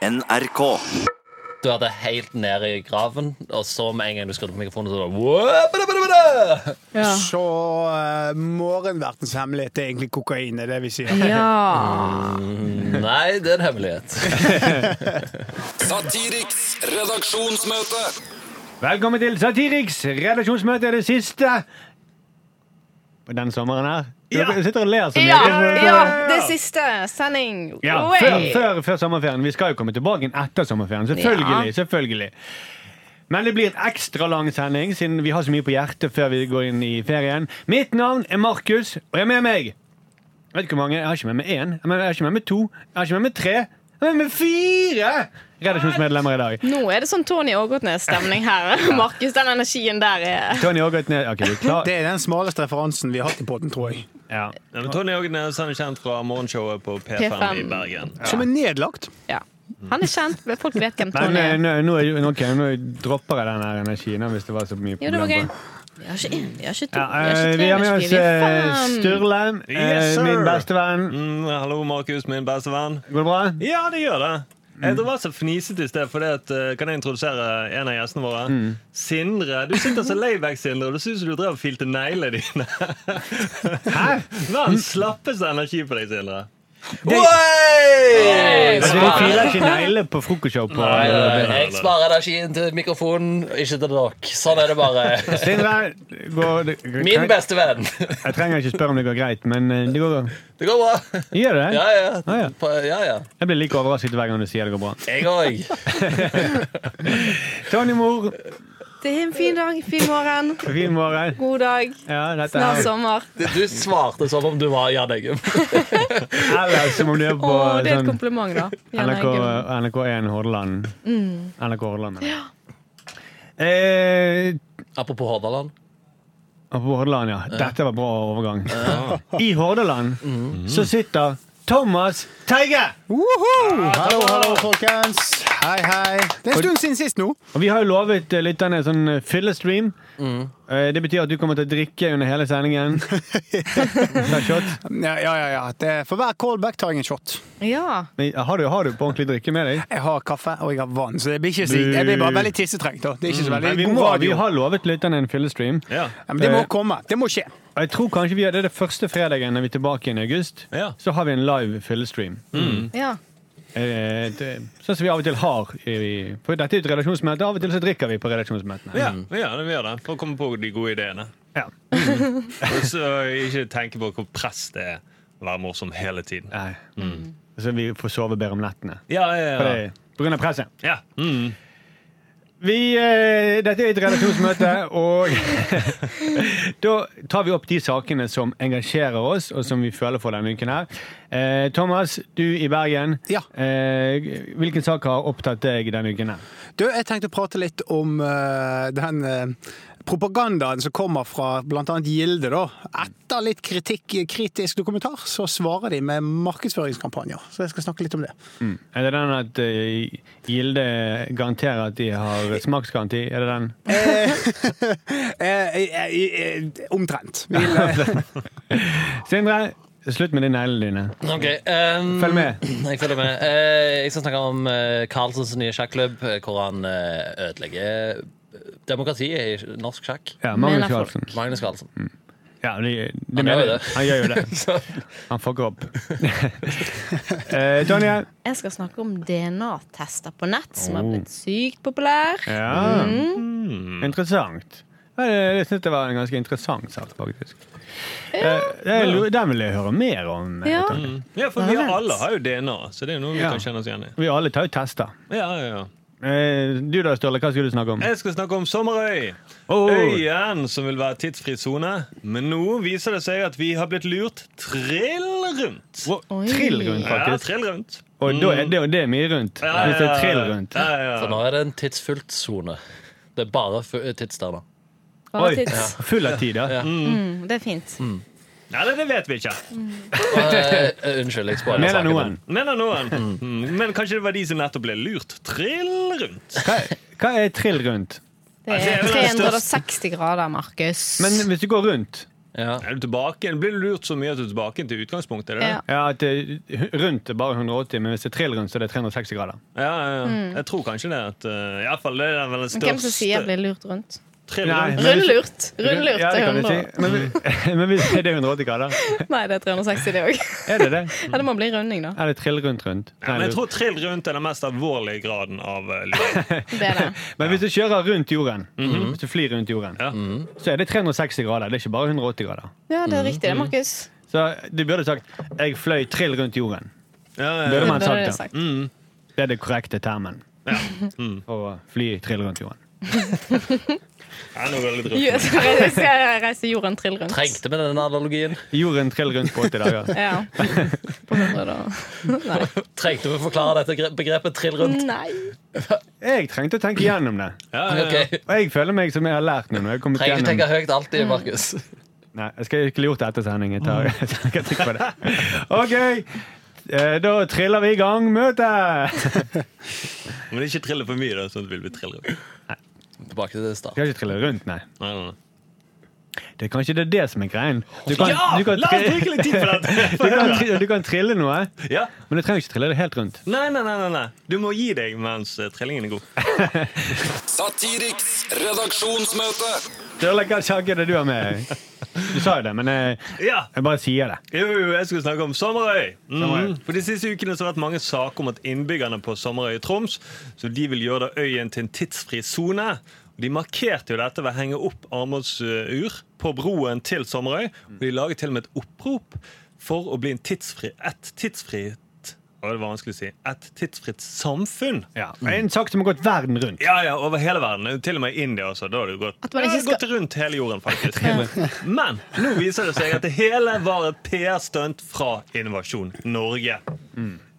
NRK. Du hadde helt ned i graven, og så med en gang du skrudde på mikrofonen, så var det «Wabadabadabada!» Ja. Så uh, morgenvertens hemmelighet er egentlig kokain, det er det vi sier. ja. Nei, det er en hemmelighet. Satiriks redaksjonsmøte. Velkommen til Satiriks redaksjonsmøte, det siste på den sommeren her. Du sitter og ler så mye. Ja, Det er så- ja, det siste sending. Ja, Oi. før, før, før sommerferien. Vi skal jo komme tilbake igjen etter sommerferien. Selvfølgelig, selvfølgelig. Men det blir en ekstra lang sending, siden vi har så mye på hjertet før vi går inn i ferien. Mitt navn er Markus, og jeg er med meg Jeg vet ikke hvor mange. Jeg har ikke med meg én, jeg har ikke med meg to, jeg har ikke med meg tre. Jeg har med meg fire redaksjonsmedlemmer i dag. Nå er det sånn Tony Ågotnes-stemning her. Markus, den energien der er Tony Ågotnes Ok, vi er klar. Det er den smaleste referansen vi har hatt i podden, tror jeg. Ja. Ja, men Tony Ognes han er kjent fra morgenshowet på P5, P5. i Bergen. Som er nedlagt. ja. Han er kjent, men folk vet hvem Men Tony eh, er. nå, nå, er jo- ok, nå dropper jeg den her energien hvis det var så mye Jo, det var gøy. problem. på. Vi har ikke én, vi har ikke to, Ja, vi har eh, ikke tre, vi har med oss vi har eh, ikke fem. Sturle, Yes, eh, sir. min beste venn. Mm, hallo, Markus, min beste venn. Går det bra? Ja, det gjør det. Jeg tror det var så fnisete i sted, for eh, kan jeg introdusere en av gjestene våre? Sindre. Du sitter så layback, Sindre, og det syns du drev og filte neglene dine. Hæ? Nå har den slappeste energi på deg, Sindre. Altså, vi fyrer ikke negler på frokostshow på Nei, nei, nei, Jeg sparer energien til mikrofonen, ikke til dere. Sånn er det bare. Sindre, går det Min kan- beste venn. Jeg trenger ikke spørre om det går greit, men eh, det går Det går bra. Gjør det? Ja, Ah, ja. ja. ja, ja. Jeg blir like overrasket hver gang du sier det går bra. Jeg òg. Tony Mor, Det er en fin dag, fin morgen, fin morgen. god dag, Ja, dette snart sånn. er sommer. Du svarte som om du var Jan Eggum. Eller som om du er Å, på det er et sånn kompliment, da. Jan NRK, eh. Eggum. NRK1 Hordaland. NRK Hordaland, mener jeg. Eh, Apropos Hordaland. apropos Hordaland, ja. Dette var bra overgang. I Hordaland Mm. så sitter Thomas Teige! Hallo, hallo, folkens. Hei, hei. Det er en stund siden sist nå. Og vi har jo lovet eh, lytterne en sånn eh, fyllestream. Mm. Eh, Det betyr at du kommer til å drikke under hele sendingen. Ta shots. Ja, ja, ja. ja. Det er, for hver callback tar jeg en shot. Ja. Men eh, Har du, har du på ordentlig drikke med deg? Jeg har kaffe og jeg har vann, så det blir ikke slik. Jeg blir bare veldig tissetrengt. da. Det er ikke så Men veldig Mm. vi, god må, vi radio. har Eh. lovet lytterne en fyllestream. Ja. Ja, men det må komme. Det må skje. Og jeg tror kanskje vi gjør det, det første fredagen når vi er tilbake igjen i august. Ja. Så har vi en live fyllestream. ja. Eh, det, sånn som vi av og til har. I, for dette er jo et redaksjonsmøte, av og til så drikker vi på redaksjonsmøtene. Ja, vi gjør det, vi gjør det. For å komme på de gode ideene. Ja. Og så ikke tenke på hvor press det er å være morsom hele tiden. Nei. Så vi får sove bedre om nettene. Ja, ja, For ja. det, på grunn av presset. ja. Mm. Vi, eh, dette er et redaksjonsmøte, og da tar vi opp de sakene som engasjerer oss, og som vi føler for denne uken her. Eh, Thomas, du i Bergen. Ja. Eh, hvilken sak har opptatt deg denne uken her? Du, jeg tenkte å prate litt om eh, den eh, propagandaen som kommer fra bl.a. Gilde. da. Etter litt kritikk, kritisk dokumentar, så svarer de med markedsføringskampanjer. Så jeg skal snakke litt om det. Mm. Er det den at eh, Gilde garanterer at de har smaksgaranti? Er det den? Eh, eh, eh, omtrent. Vil, eh, Sindre, slutt med de neglene dine. Ok, ehm, Følg med. Jeg følger med. Eh, jeg skal snakke om eh, Carlsens nye sjakklubb, eh, hvor han eh, ødelegger demokratiet i norsk sjakk. Ja, Magnus Mener folk. Carlsen. Magnus Carlsen. Ja, de, de Han gjør jo det. Han gjør jo det. Så- Han fucker opp. eh, Tonje? Jeg skal snakke om DNA-tester på nett, som har blitt sykt populær. Oh. Ja. Mm. Interessant. Ja, det- Jeg syns det var en ganske interessant sak, faktisk. Eh, jeg lo- den vil jeg høre mer om. eh, Ja. Tonje. Mm. ja, for vi alle har jo DNA, så det er jo noe vi Ja. kan kjenne oss igjen i. Vi alle tar jo tester. Ja, ja, ja. Eh, du da, Sturle, hva skulle du snakke om? Jeg skal snakke om Sommerøy. Oh. Øyen som vil være tidsfri sone. Men nå viser det seg at vi har blitt lurt trill rundt. Oi. Trill rundt, Ja, faktisk. trill rundt. Og da er det, det er mye rundt. Ja, Hvis det ja, er ja. trill rundt. Ja, ja, Så ja. nå er det en tidsfullt sone. Det er bare fu- eh, tids der nå. Bare Oi, tids. full av tid, ja. Mm, Det er fint. Nei, det- det vet vi ikke. Eh, eh, unnskyld, jeg spoiler Mener saken. noen. Mener noen. Mm, Men kanskje det var de som nettopp ble lurt trill rundt. Hva, hva er trill rundt? Det det er er Altså, vel den største- 360 grader, Markus. Men hvis du går rundt, Ja. Er du tilbake igjen? Blir du lurt så mye at du er tilbake igjen til utgangspunktet? Er det Ja. det? Ja, at eh, Rundt er bare 180, men hvis det er trill rundt, så er det 360 grader. Ja, ja, ja. Jeg tror kanskje det. At, uh, i alle fall, det er vel den Mm. Men største hvem som sier blir lurt rundt? Trill Nei. rundt. Men hvis- Rundlurt! Rundlurt ja, det er kan du 100. si. Men, vi- men hvis er det 180 grader? Nei, det er 360, det òg. Er det det? Ja, det må bli runding, da. Er det trill rundt rundt? Ja, men Nei, jeg tror trill rundt er den mest alvorlige graden av uh, lyd. Det er det. Men hvis du kjører rundt jorden, hvis du flyr rundt jorden, Mhm. Ja. så er det 360 grader. Det er ikke bare 180 grader. Ja, det er Mm. riktig det, Markus. Så du burde sagt 'jeg fløy trill rundt jorden'. Burde Ja, ja, ja. Det man burde jeg sagt det. Mm. sagt. Det er det korrekte termen. Mm. For å fly trill rundt jorden. Ja, nå går det litt rundt. Ja, så jeg skal reise jorden trill rundt. Trengte vi den analogien? Jorden trill rundt på 80 dager. Ja. På 100, da. Nei. Trengte vi å forklare dette gre- begrepet trill rundt? Nei. Jeg trengte å tenke gjennom det. Ja, ja, ja. Ok, Og jeg føler meg som jeg har lært noe. når Jeg har kommet Trenger ikke tenke gjennom. høyt alltid, Markus. Nei, jeg skal ikke gjort det etter sending. Jeg Mm. tar, jeg tenker ikke på det. OK, eh, da triller vi i gang møtet! Men ikke trille for mye, da, sånn at det blir trill rundt. Tilbake til start. Skal ikke trille rundt, nei. Nei, nei, nei. Det er kanskje det, er det som er greien. Du Ja! du kan La oss tri- bruke litt tid på dette! du kan, tri- du kan trille noe, Ja. men du trenger ikke trille det helt rundt. Nei, nei, nei, nei, nei. Du må gi deg mens eh, trillingen er god. Satiriks redaksjørdagsmøte. Sturle, hva sak er det du har med? Du sa jo det, men jeg, Ja, jeg bare sier det. Jo, jo, jeg skulle snakke om Sommerøy. Sommerøy. Mm. For De siste ukene så har det vært mange saker om at innbyggerne på Sommerøy i Troms så de vil gjøre øyen til en tidsfri sone. Og De markerte jo dette ved å henge opp armbåndsur på broen til Sommerøy. Og de laget til og med et opprop for å bli en tidsfri, et tidsfritt Å, det var vanskelig å si. Et tidsfritt samfunn. Ja. Det er En sak som har gått verden rundt. Ja, ja, over hele verden. Til og med i India også. Da har det gått, At man ikke ja, det har skal- gått rundt hele jorden, faktisk. Men nå viser det seg at det hele var et PR-stunt fra Innovasjon Norge.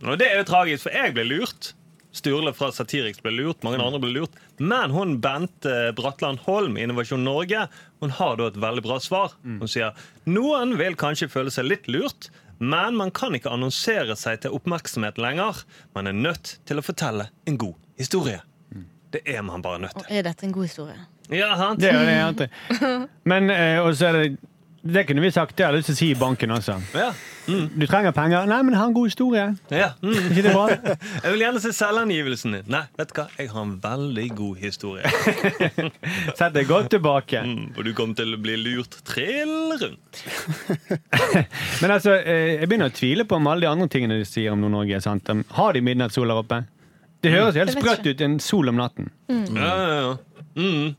Og det er jo tragisk, for jeg ble lurt. Sturle fra Satiriks ble lurt, mange andre ble lurt. Men hun Bente Bratland Holm i Innovasjon Norge hun har da et veldig bra svar. Hun sier noen vil kanskje føle seg litt lurt, men man kan ikke annonsere seg til oppmerksomhet lenger. Man er nødt til å fortelle en god historie. Det er man bare nødt til. Er dette en god historie? Ja, sant? Det er jo det jeg antar. Men eh, og så er det Det kunne vi sagt, det har jeg lyst til å si i banken også. Ja. Du trenger penger. Nei, men jeg har en god historie. Ja. Mm. Er ikke det bra? Jeg vil gjerne se selvangivelsen din. Nei, vet du hva? Jeg har en veldig god historie. Sett deg godt tilbake. Mm, Og du kommer til å bli lurt trill rundt. Men altså, eh, jeg begynner å tvile på om alle de andre tingene de sier om Nord-Norge er sant. Om- Har de midnattssol der oppe? Det høres helt Mm. Jeg vet sprøtt ikke. ut, en sol om natten. Mm. Ja, ja, ja. Mm.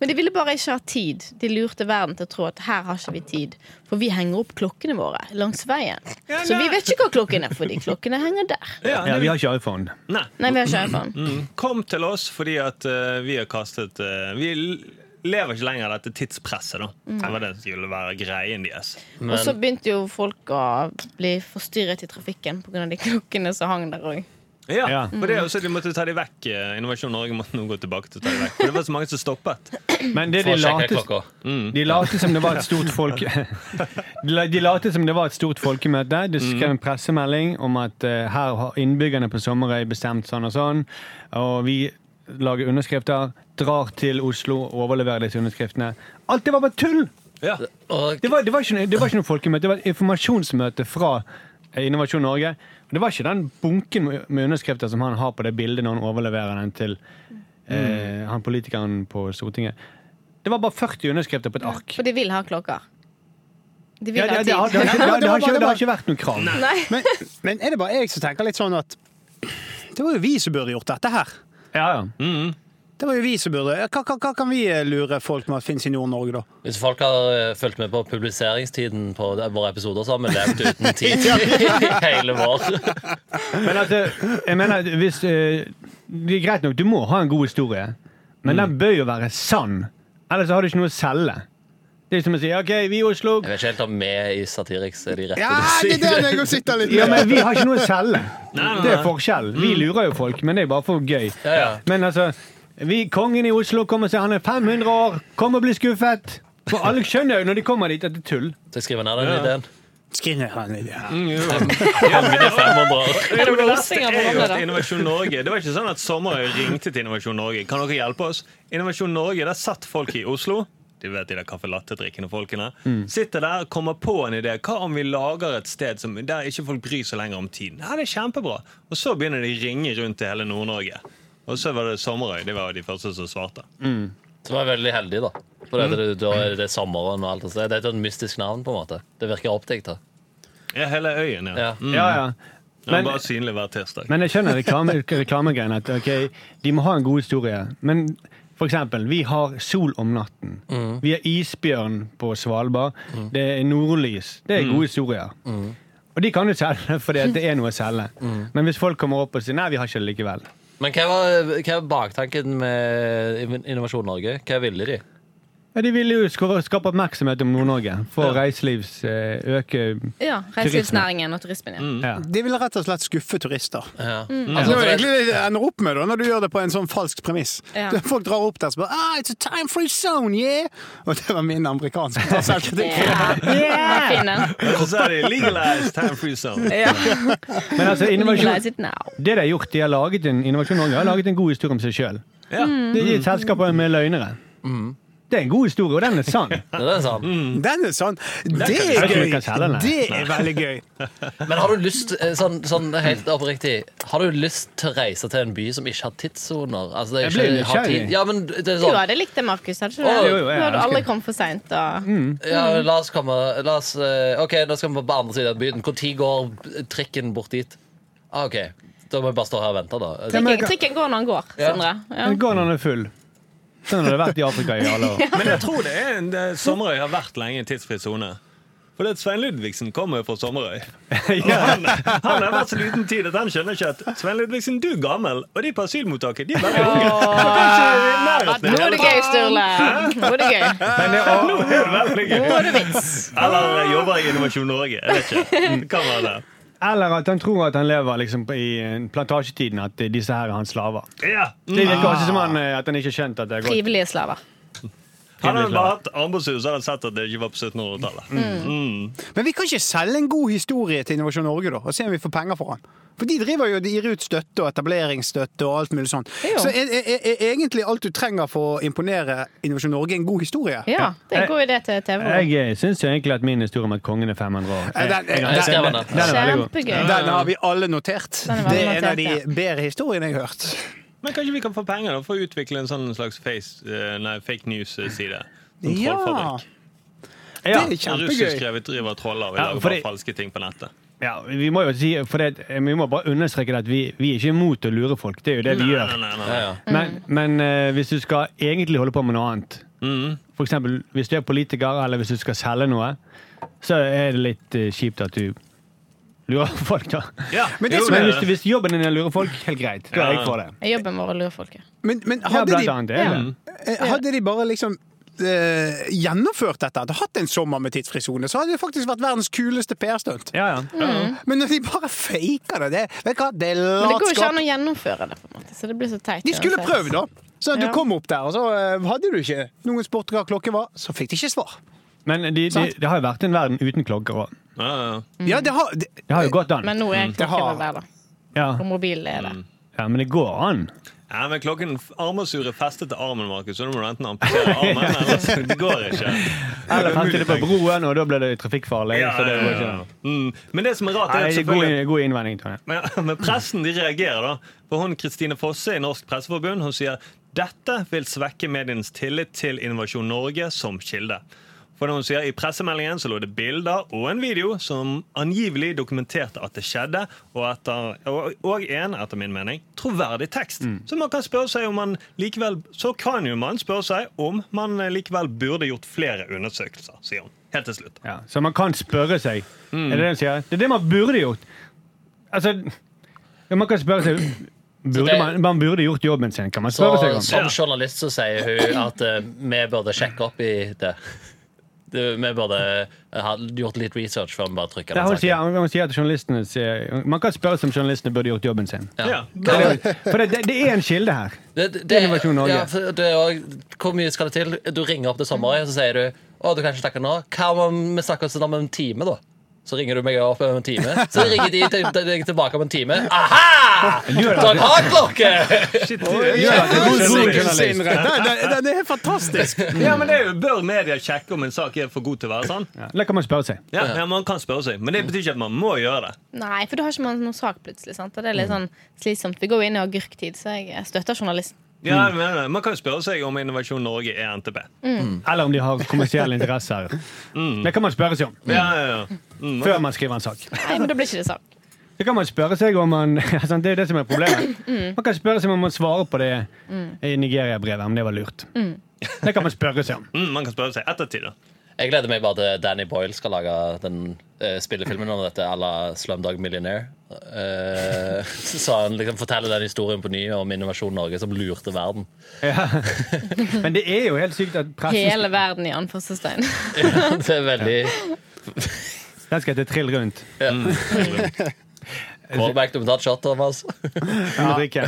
Men de ville bare ikke ha tid. De lurte verden til å tro at her har ikke vi tid. For vi henger opp klokkene våre langs veien. Så vi vet ikke hva klokken er, fordi klokkene henger der. Ja, Ja, vi har ikke iPhone. Nei. Nei, vi har ikke iPhone. Mm. Kom til oss fordi at eh, vi har kastet eh, Vi l- lever ikke lenger i dette tidspresset, da. Det var det som skulle være greien deres. Mm. Og så begynte jo folk å bli forstyrret i trafikken pga. de klokkene som hang der òg. Ja, Mm. Ja. for det er også, De måtte ta de vekk. eh, Innovasjon Norge måtte nå gå tilbake til å ta de vekk. For det var så mange som stoppet. Men det For de å sjekke late klokka. de late som det var et stort folk... De la- De late som det var et stort folkemøte. De skrev en pressemelding om at eh, her har innbyggerne på Sommerøy bestemt sånn og sånn. Og vi lager underskrifter, drar til Oslo og overleverer disse underskriftene. Alt det var bare tull! Ja. Og Det var, det, var ikke, noe- det var ikke noe folkemøte, det var et informasjonsmøte fra eh, Innovasjon Norge. Og det var ikke den bunken med- med underskrifter som han har på det bildet når han overleverer den til eh, han politikeren på Stortinget. Det var bare 40 underskrifter på et ark. For de vil ha klokker. De vil Ja, det, ha det, har- det, tid. har ikke- det, har- det, har ikke- det har Nei. ikke vært noe krav. Nei. Men, men er det bare jeg som tenker litt sånn at det var jo vi som burde gjort dette her. Ja, ja. Det var jo vi som burde Hva, hva, hva kan vi eh, lure folk med at fins i Nord-Norge, da? hvis folk har eh, fulgt med på publiseringstiden på de- våre episoder, så har vi levd uten tid hele vår. Men altså, jeg mener at hvis eh, Det er greit nok, du må ha en god historie, men den bør jo være sann. Ellers har du ikke noe å selge. Det er som å si OK, vi i Oslo Jeg vet ikke helt om vi i Satiriks er de rette. Ja, det er der jeg sitter litt Ja, men vi har ikke noe å selge. nei, Mm. Det er nei. forskjell. Vi lurer jo folk, men det er bare for gøy. Ja, ja. Men altså, vi, kongen i Oslo kommer og sier han er 500 år, kom og bli skuffet. For alle skjønner jo når de kommer dit at det er tull. Så jeg skriver ned den Ja. ideen. Skriv ned her, Lydia. Det er 500 år. Det det var verste løsninger på er jo mange, at da. Innovasjon Norge Det var ikke sånn at Sommerøy ringte til Innovasjon Norge. Kan dere hjelpe oss? Innovasjon Norge, der satt folk i Oslo de vet de der kaffe latte-drikkende folkene, Mm. sitter der kommer på en idé. Hva om vi lager et sted som, der ikke folk bryr seg lenger om tiden? Ja, det er kjempebra. Og så begynner de å ringe rundt til hele Nord-Norge. Og så var det Sommerøy. De var jo de første som svarte. Så var jeg veldig heldig, da. For det, det, da er det sommeren og alt det der. Det er et sånn mystisk navn, på en måte. Det virker oppdikta. Ja, hele øyen, ja. Ja. Mm. Ja, ja. Den var Men- bare synlig hver tirsdag. Men jeg skjønner reklame, reklamegreiene. At ok, de må ha en god historie. Men for eksempel, vi har sol om natten. Mm. Vi har isbjørn på Svalbard. Det er nordlys. Det er Mm. gode historier. Og de kan jo selge, fordi at det er noe å selge. Mm. Men hvis folk kommer opp og sier nei, vi har ikke det likevel. Men hva var, hva var baktanken med Innovasjon Norge? Hva ville de? Ja, de ville jo sk- skape oppmerksomhet om Nord-Norge. For reiselivs eh, øke Ja, Reiselivsnæringen og turismen. Ja. ja. De vil rett og slett skuffe turister. Ja. Altså, Det er jo for Altså, det- egentlig det det ender opp med da, når du gjør det på en sånn falsk premiss. Ja. Det- Folk drar opp der og spør ah, It's a time free zone, yeah! Og det var min amerikanske selvkritikk. Yeah. Fin den. Og så er det legalized time free zone. Ja. Men Legalize altså, innovasjon, it now. det de har gjort, de har laget en Innovasjon Norge har laget en god historie om seg sjøl. Ja. Det er et selskap med løgnere. Mm. Det er en god historie, og den er sann. Det er sant. Den er sånn. Det jeg er ikke gøy! like å selge den, nei. Det er veldig gøy. Men har du lyst eh, sånn, sånn helt oppriktig Har du lyst til å reise til en by som ikke har tidssoner? Altså, det er Jeg blir ikke- har nysgjerrig. tid- Ja, men det er Du sånn hadde likt det, Markus. Hadde ikke Å, du jo, jo, det? jeg Nå hadde du Mm. elsker aldri det. kommet for seint. Og... ja, La oss komme la oss, eh, Ok, nå skal vi på andre siden av byen. Når går trikken bort dit? Ah, ok, Da må vi bare stå her og vente, da. men- Trikken, trikken går når den går, Ja. Sindre. Ja. Den går når den er full. Sånn har det vært i Afrika i alle år. Men jeg tror det er en det, Sommerøy har vært lenge i tidsfri sone. For det at Svein Ludvigsen kommer jo fra Sommerøy. Og han, han har vært så liten tid at han skjønner ikke at Svein Ludvigsen, du er gammel, og de på asylmottaket de er veldig unge. Så kanskje vi er i nærheten Nå er det gøy, Sturle. Nå er det gøy. Men det, Nå er det veldig gøy. Nå er det vits. Eller jeg jobber i Innovasjon Norge. Jeg vet ikke. Det kan være det. eller at han tror at han lever liksom, på- i plantasjetiden, at eh, disse her er hans slaver. Mm. Ja. Det virker kanskje Ah. som han, eh, at han ikke har skjønt at det er godt. Frivillige slaver. Hadde han bare hatt armbåndshus, hadde han sett at det ikke var på Mm. 1700-tallet. Men vi kan ikke selge en god historie til Innovasjon Norge da, og se om vi får penger for den. For de driver jo og gir ut støtte og etableringsstøtte og alt mulig sånt. Jo. Så er, er, er egentlig alt du trenger for å imponere Innovasjon Norge, en god historie. Ja, det er en god idé til TV. Jeg syns egentlig at min historie om at kongen er 500 år Eh, Den, den, Jeg skrev den, den ned. Den er veldig god. Kjempegøy. den har vi alle notert. Den er veldig Det er en av de notert, bedre historiene jeg har hørt. Men kanskje vi kan få penger da, for å utvikle en sånn slags face, eh, nei, fake news-side? Som Ja, trollfabrikk. Ja, det er kjempegøy. Russiskskrevet driver troller og Ja, lager fordi- bare falske ting på nettet. ja, vi må jo si, for det, vi må bare understreke det at vi, vi er ikke imot å lure folk. Det er jo det vi Nei, gjør. nei, Ja, nei, nei. ja. Men, men eh, hvis du skal egentlig holde på med noe annet, Mm. for eksempel hvis du er politiker eller hvis du skal selge noe, så er det litt eh, kjipt at du lurer folk, da. Ja, Men det jo, som Men er- hvis, du- hvis jobben din er å lure folk, helt greit. Da er jeg for det. Jeg jobber med å lure folk. ja. Men, men Ja, hadde, blant de, annet. Det er Mm. det. eh, hadde de bare liksom eh, gjennomført dette, hadde hatt en sommer med tidsfri sone, så hadde det faktisk vært verdens kuleste PR-stunt. Mm. Ja, Mm. ja. Men når de bare faker det, det Vet du hva, det er Men det går jo ikke latskap. an å gjennomføre det, på en måte. Så det blir så teit. De skulle uansett. prøvd, da. Så du Ja. kom opp der, og så eh, hadde du ikke noen spurt hva klokken var, så fikk de ikke svar. Men de, de, Sant. det har jo vært en verden uten klokker òg. Ja, ja. Mm. Ja, det har, det, Det har jo gått an. Men nå er Mm. Det klokken har- vel der, da. Ja. Og mobilen er der. ja, men det går an. Ja, men klokken Armbåndsuret er festet til armen, Markus, så nå må du enten amputere armen, eller så det går ikke. Eller Det er festet det på mulig. broen, og da ble det trafikkfarlig. Ja, så det ja, går ja, ikke ja. an. Mm. Men det som er rart, Nei, er det at er god, selvfølgelig god innvending, Tonje. men, men pressen de reagerer, da. For hun Kristine Fosse i Norsk Presseforbund hun sier dette vil svekke medienes tillit til Innovasjon Norge som kilde. For hun sier I pressemeldingen så lå det bilder og en video som angivelig dokumenterte at det skjedde, og, etter, og, og en, etter min mening, troverdig tekst. Så man kan spørre seg om man likevel Så kan jo man spørre seg om man likevel burde gjort flere undersøkelser, sier hun. Helt til slutt. Ja, så man kan spørre seg. Er det det hun sier? Det er det man burde gjort. Altså, ja, man kan spørre seg burde det- man, man burde gjort jobben sin, kan man Så, spørre seg om. som journalist så sier hun at eh, vi burde sjekke opp i det. Det- Vi burde eh, ha gjort litt research før vi bare trykker Ja, den hun, sier, saken. hun, hun sier at journalistene sier, Man kan spørre seg om journalistene burde gjort jobben sin. Ja. For det, det, det er en kilde her. Det, det, Innovasjon Norge. Ja, for det er også- hvor mye skal det til? Du ringer opp til sommeren, og så sier du Å, du kan ikke snakke nå. Hva om vi snakker oss om en time, da? Så ringer du meg opp om en time. Så ringer de til, til, deg tilbake om en time. Aha! Dere har klokke! Shit, det er- Ja, det er god journalist. Den den er helt fantastisk! Ja, men det er jo, Bør media sjekke om en sak er for god til å være sann? Ja, Det kan man spørre seg. Ja, ja, Man kan spørre seg, men det betyr ikke at man må gjøre det. Nei, for da har ikke man noen sak plutselig. Sant? Og det er litt Mm. sånn slitsomt. Vi går jo inn i agurktid, så jeg jeg støtter journalisten. Ja, Mm. jeg mener det. Man kan jo spørre seg om Innovasjon Norge er NTP. Eller om de har kommersielle interesser. Det kan man spørre seg om Ja, ja, ja. Mm. før man skriver en sak. Nei, men da blir ikke det sånn. sak. Så kan man spørre seg om man altså, Det er jo det som er problemet. Mm. Man kan spørre seg om man svarer på det i Nigeria-brevet, om det var lurt. Mm. Det kan man spørre seg om. Mm, man kan spørre seg ettertid. da. Jeg gleder meg bare til Danny Boyle skal lage den eh, spillefilmen om dette à la Slumdog Millionaire. Eh, så han liksom forteller den historien på ny om Innovasjon Norge som lurte verden. Ja. Men det er jo helt sykt at pressen Hele verden i anførselstegn. Det er veldig Den skal hete Trill rundt. Callback til å ta et shot, Thomas. Du må drikke.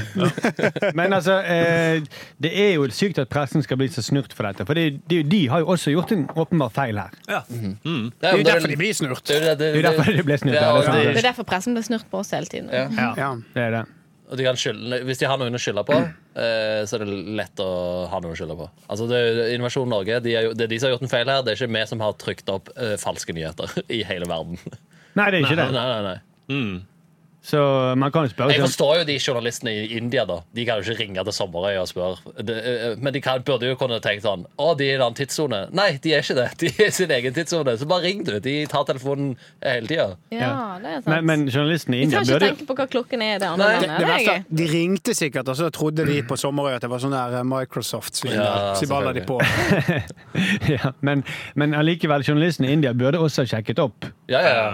Men altså, eh, det er jo sykt at pressen skal bli så snurt for dette. For det, det, de har jo også gjort en åpenbar feil her. Ja. Det er jo derfor de blir snurt. Det er jo det- Det er jo derfor de ble snurt. Ja, og det Det er er derfor pressen blir snurt på oss hele tiden. Ja. Ja, Ja. det er det. Og de kan skylde, hvis de har noen å skylde på, eh, så er det lett å ha noen å skylde på. Altså, det er jo Innovasjon Norge de er, jo- det er de som har gjort en feil her. Det er ikke vi som har trykt opp eh, falske nyheter i hele verden. Nei, det er ikke Nei, det. nei, nei. Så man kan jo spørre Jeg seg om forstår jo de journalistene i India, da. De kan jo ikke ringe til Sommerøy og spørre. Det, eh, Men de kan, burde jo kunne tenkt sånn Å, de er i en annen tidssone. Nei, de er ikke det. De er i sin egen tidssone. Så bare ring, du. De tar telefonen eh, hele tida. Ja, det er sant. Men, men journalistene Vi i India trenger ikke burde jo tenke på hva klokken er i det andre Nei, Det, landet. det Det er verste, gøy. de ringte sikkert, og så trodde de på Sommerøy at det var sånn der eh, Microsoft-svin. Ja, så balla de på. ja, men, men allikevel, journalistene i India burde også ha sjekket opp. Ja, ja, ja.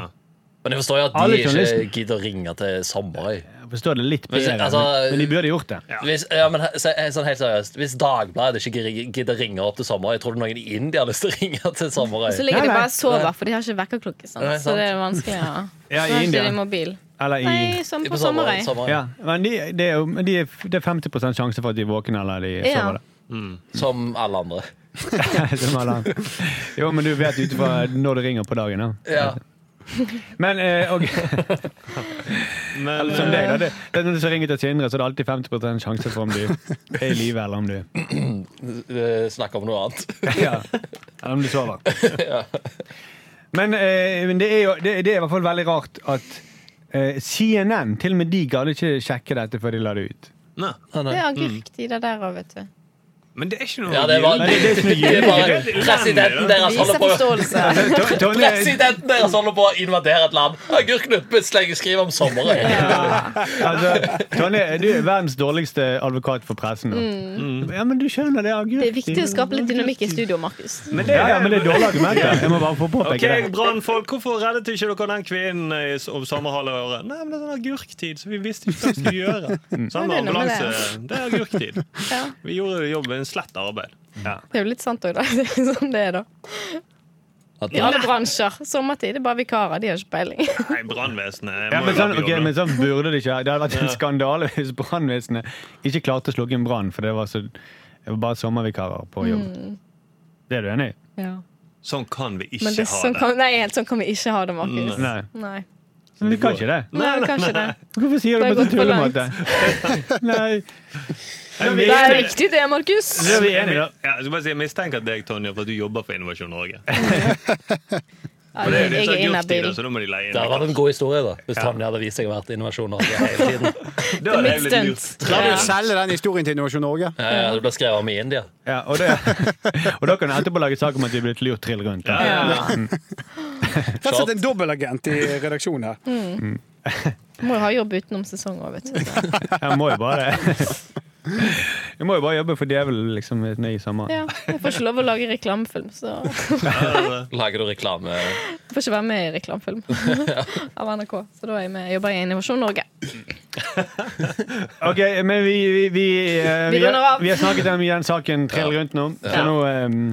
Men jeg forstår jo at de Alle ikke journalistene. gidder å ringe til Sommerøy. Jeg forstår det litt Men se, bedre, men, altså- men de burde gjort det. Ja. Hvis, ja, men, he- se- sånn helt seriøst Hvis Dagbladet ikke gir- gidder å ringe opp til Sommerøy, tror du noen i India har lyst til å ringe til Og så Sommerøy? ligger de Nei, nei. bare og sover, for de har ikke vekkerklokke. sant? Nei, sant. Så det er vanskelig å ha. Ja, i Så har ikke India. de mobil. Eller i Nei, som på Sommerøy. Sommerøy. ja, men de, det, er jo, men de er, det er 50 sjanse for at de er våkne eller de Ja. sover. da. Som alle andre. Som alle andre. Jo, men du vet ut ifra når det ringer på dagen. Da. Ja. Men eh, ok, Men som deg, da. Det, det er når du så ringer til Sindre, så er det alltid 50 sjanse for om du er i live eller om du Eh, Snakk om noe annet. Ja. Eller om du sover. Men, eh, men det er jo det, det er i hvert fall veldig rart at eh, CNN, til og med de gadd ikke sjekke dette før de la det ut. Nei. Det Mm. er agurktid det der òg, vet du. Men det er ikke noe Ja, det var, Nei, det er det som er det er bare gyldig. Presidenten deres holder Viser på forståelse. Tonje- Tonje- Presidenten deres holder på å invadere et land. Agurknuppen slenger skriv om Sommerøy. Altså, Tonje, du er verdens dårligste advokat for pressen. da. Mm. Ja, men du skjønner det. Agurk. Det er viktig å skape litt dynamikk i studio, Markus. Men det Ja, ja, men det er dårlige argumenter. Jeg må bare få Ok, påpeke det. brannfolk, Hvorfor reddet ikke dere den kvinnen i s- om sommerhalvåret? Nei, men Det er sånn agurktid, så vi visste ikke hva vi skulle gjøre. Mm. Ja, Sånn det er noe med ambulanse, det er agurktid. Ja. Vi gjorde jobben slett arbeid. Det er jo litt sant òg, da. Det er jo sånn det er, da. I alle bransjer. Sommertid det er bare vikarer. De har ikke peiling. Nei, brannvesenet Ja, men må jo sånn, lage ok, jobben. men sånn burde det ikke være. Det hadde vært en skandale hvis brannvesenet ikke klarte å slukke en brann, for det var, så, det var bare sommervikarer på jobb. Mm. Det er du enig i? Sånn kan vi ikke Men det, er ha sånn, det. kan, nei, helt sånn kan vi ikke ha det, Markus. Nei. Nei. Men vi kan ikke det. Nei, kanskje det. Hvorfor sier Det du har det på en gått for langt. tullemåte? Nei, Jeg Det er mistenker- viktig det, Markus. det er vi enige i. da. Ja, jeg skal bare si, jeg mistenker deg, Tonje, for at du jobber for Innovasjon Norge. Ja, For det er jo jeg disse er inhabil. agurktidene, så da må de leie Det hadde inn. vært en god historie da hvis Tonje hadde vist seg å vært Innovasjon Norge hele tiden. Da hadde mitt jeg blitt lurt. stunt. La du Ja. selge den historien til Innovasjon Norge? Ja, ja, Det ble skrevet om i India. Ja, og, det, og da kan du etterpå lage sak om at vi er blitt lurt trill rundt. da. Rett og slett en dobbeltagent i redaksjonen her. Må jo ha jobb utenom sesong òg, vet du. Jeg må jo bare Jeg må jo bare jobbe for djevelen liksom, ned i sommeren. Ja, jeg får ikke lov å lage reklamefilm, så jeg Lager du reklame? får ikke være med i reklamefilm av NRK. Så da er jeg med, jobber jeg i Innovasjon Norge. Ok, men vi vi, vi, eh, Vi vi, runder av. vi har snakket om den saken trill rundt nå, så Ja. nå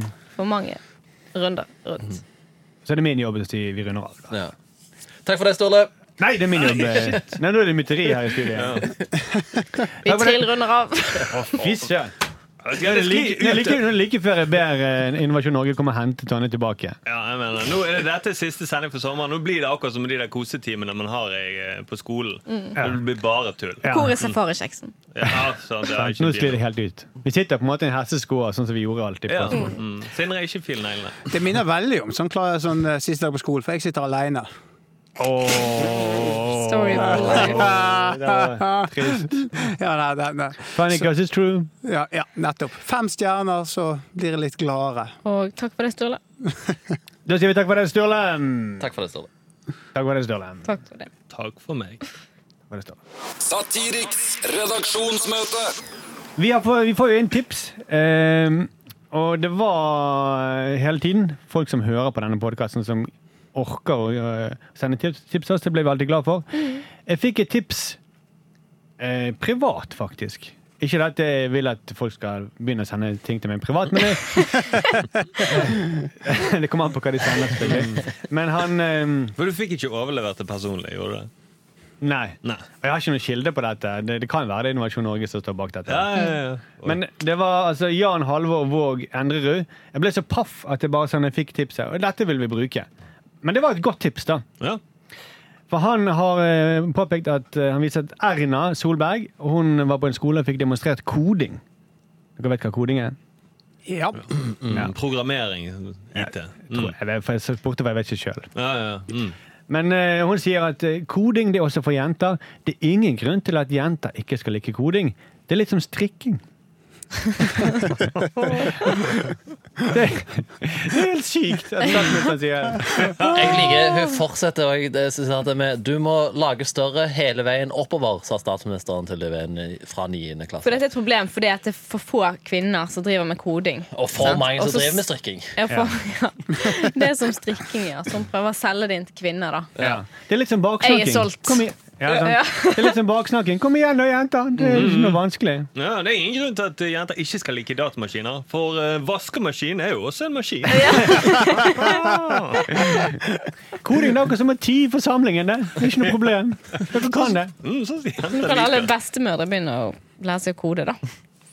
eh, For mange runder rundt. så er det min jobb å si vi runder av. Da. Ja. Takk for det, Ståle. Nei, det er min jobb! eh. Nei, nå er det mytteri her i studiet. Vi trillrunder av. Fy søren! Ja, Nå er det det sklir like, nå er det ut. like, nå er det like før jeg ber eh, Innovasjon Norge komme og hente Tonje tilbake. Ja, jeg mener, nå er det Dette er siste sending for sommeren. Nå blir det akkurat som de der kosetimene man har eh, på skolen. Mm. Det blir bare tull. Ja. Hvor er safarikjeksen? Ja, sant, Sånn, det er ikke Nå sklir det fil. helt ut. Vi sitter på en måte i en hessesko, sånn som vi gjorde alltid. Ja. På. Mm. Sindre er ikke fil neglene. Det minner veldig om sånn, klar, sånn eh, siste dag på skolen, for jeg sitter alene. Story of my life. Det var trist. Ja, nei, nei, nei. Funny because it's true. Ja, ja, nettopp. Fem stjerner, så blir jeg litt gladere. Og takk for det, Sturle. Da sier vi takk for det, Sturle. Takk for det, Sturle. Takk for det, Sturle. Takk for det. Takk for meg. Takk for det, Sturle. Satiriks redaksjonsmøte. Vi, har få, vi får jo inn tips. ehm, og det var eh, hele tiden folk som hører på denne podkasten, som orker å eh, sende tips, tips til oss. Det ble vi alltid glad for. Jeg fikk et tips eh, privat, faktisk. Ikke det at jeg vil at folk skal begynne å sende ting til meg privat, men det, det kommer an på hva de sender. selvfølgelig. Men han ehm, For du fikk ikke overlevert det personlig, gjorde du? det? Nei. Nei. Og jeg har ikke noe kilde på dette. Det, det kan være det er Innovasjon Norge som står bak dette. Ja, ja, ja. Men det var altså Jan Halvor Våg Endrerud. Jeg ble så paff at jeg bare sånn jeg fikk tipset. Og dette vil vi bruke. Men det var et godt tips, da. ja. For han har eh, påpekt at eh, han viser at Erna Solberg hun var på en skole og fikk demonstrert koding. Dere vet hva koding er? Ja. Mm. Programmering. IT. Mm. Tror jeg, vet, for jeg spurte, for jeg vet ikke sjøl. Ja, ja. ja. Mm. Men eh, hun sier at eh, koding det er også for jenter. Det er ingen grunn til at jenter ikke skal like koding. Det er litt som strikking. det, det er helt sykt at statsministeren sier det. Jeg liker, Hun fortsetter og jeg- det synes jeg at det er med Du må lage større hele veien oppover, sa statsministeren til eleven i- fra 9. For klasse. dette er et problem, fordi at det er for få kvinner som driver med koding. Og for Sant? mange Og som så driver med s- strikking. Ja, for, ja. Det er som strikking, ja. Som prøver å selge det inn til kvinner, da. Ja. Det er litt som baksnakking. Jeg er solgt. Kom i- Ja, sant. Ja. Det er litt som baksnakking. Kom igjen da, jenter! Det er ikke noe vanskelig. Ja, det er ingen grunn til at jenter ikke skal like datamaskiner, for eh, vaskemaskin er jo også en maskin. Koding det er akkurat som å tie for samlingen. Det Det er ikke noe problem. Dere kan det. Mm, så Nå kan alle bestemødre begynne å lære seg å kode, da.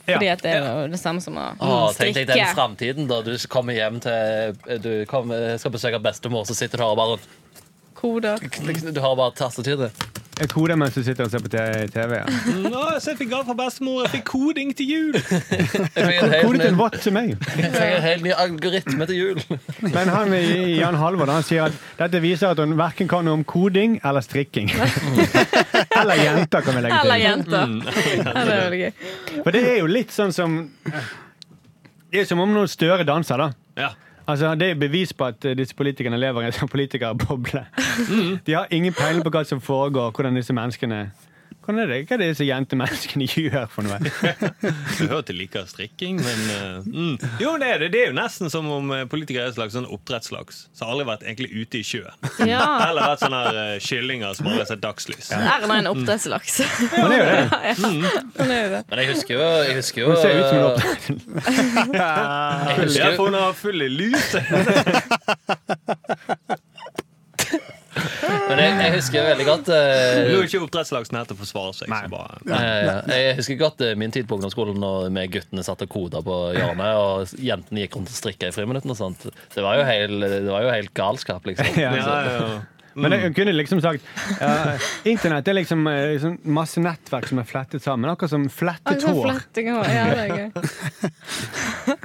Ja. Fordi at det er jo det samme som å Å, mm, tenk deg den strikke. framtiden da du kommer hjem til Du kommer, skal besøke bestemor, så sitter du her og bare Koder. Du har bare tastatyret. Jeg koder mens du sitter og ser på te- TV. Ja. Nå, så jeg fikk gave fra bestemor. Jeg fikk koding til jul. Jeg fikk en helt Kodet en ny- watt til meg. jeg fikk en helt ny algoritme til jul. Men han, i- Jan Halvor han sier at dette viser at hun verken kan noe om koding eller strikking. Eller jenter, kan vi legge Eller til. jenter. Ja, det er veldig gøy. For det er jo litt sånn som Det er som om noen større danser, da. Ja. Altså, Det er bevis på at eh, disse politikerne lever i en sånn politikerboble. De har ingen peiling på hva som foregår, hvordan disse menneskene hvordan er det? Hva er det disse jentemenneskene gjør for noe? Du hører at de liker strikking, men eh, mm. Jo, det er det. Det er jo nesten som om eh, politikere er et slags sånn oppdrettslaks som aldri har vært egentlig ute i sjøen. Ja. Eller vært sånne her, eh, kyllinger som aldri har sett dagslys. Erna er en oppdrettslaks. Men det er jo det. Hun er jo det. Men jeg husker jo, jeg husker jo Hun ser ut som en jeg oppdrett. Ja, husker, for jo- hun har full i lus. men jeg, jeg husker jo veldig godt eh, Nå er ikke oppdrettslaksen her til å forsvare seg. Nei. Så bare. Eh, Jeg husker godt eh, min tid på ungdomsskolen når vi guttene satt og koda på hjørnet, og jentene gikk rundt og strikka i friminuttene og sånt. Det var jo helt, det var jo helt galskap, liksom. Ja. Ja, ja. Men jeg hun kunne liksom sagt eh, Internett er liksom eh, sånn masse nettverk som er flettet sammen. Akkurat som flettet Hun hår. fletting av Ja, det er gøy.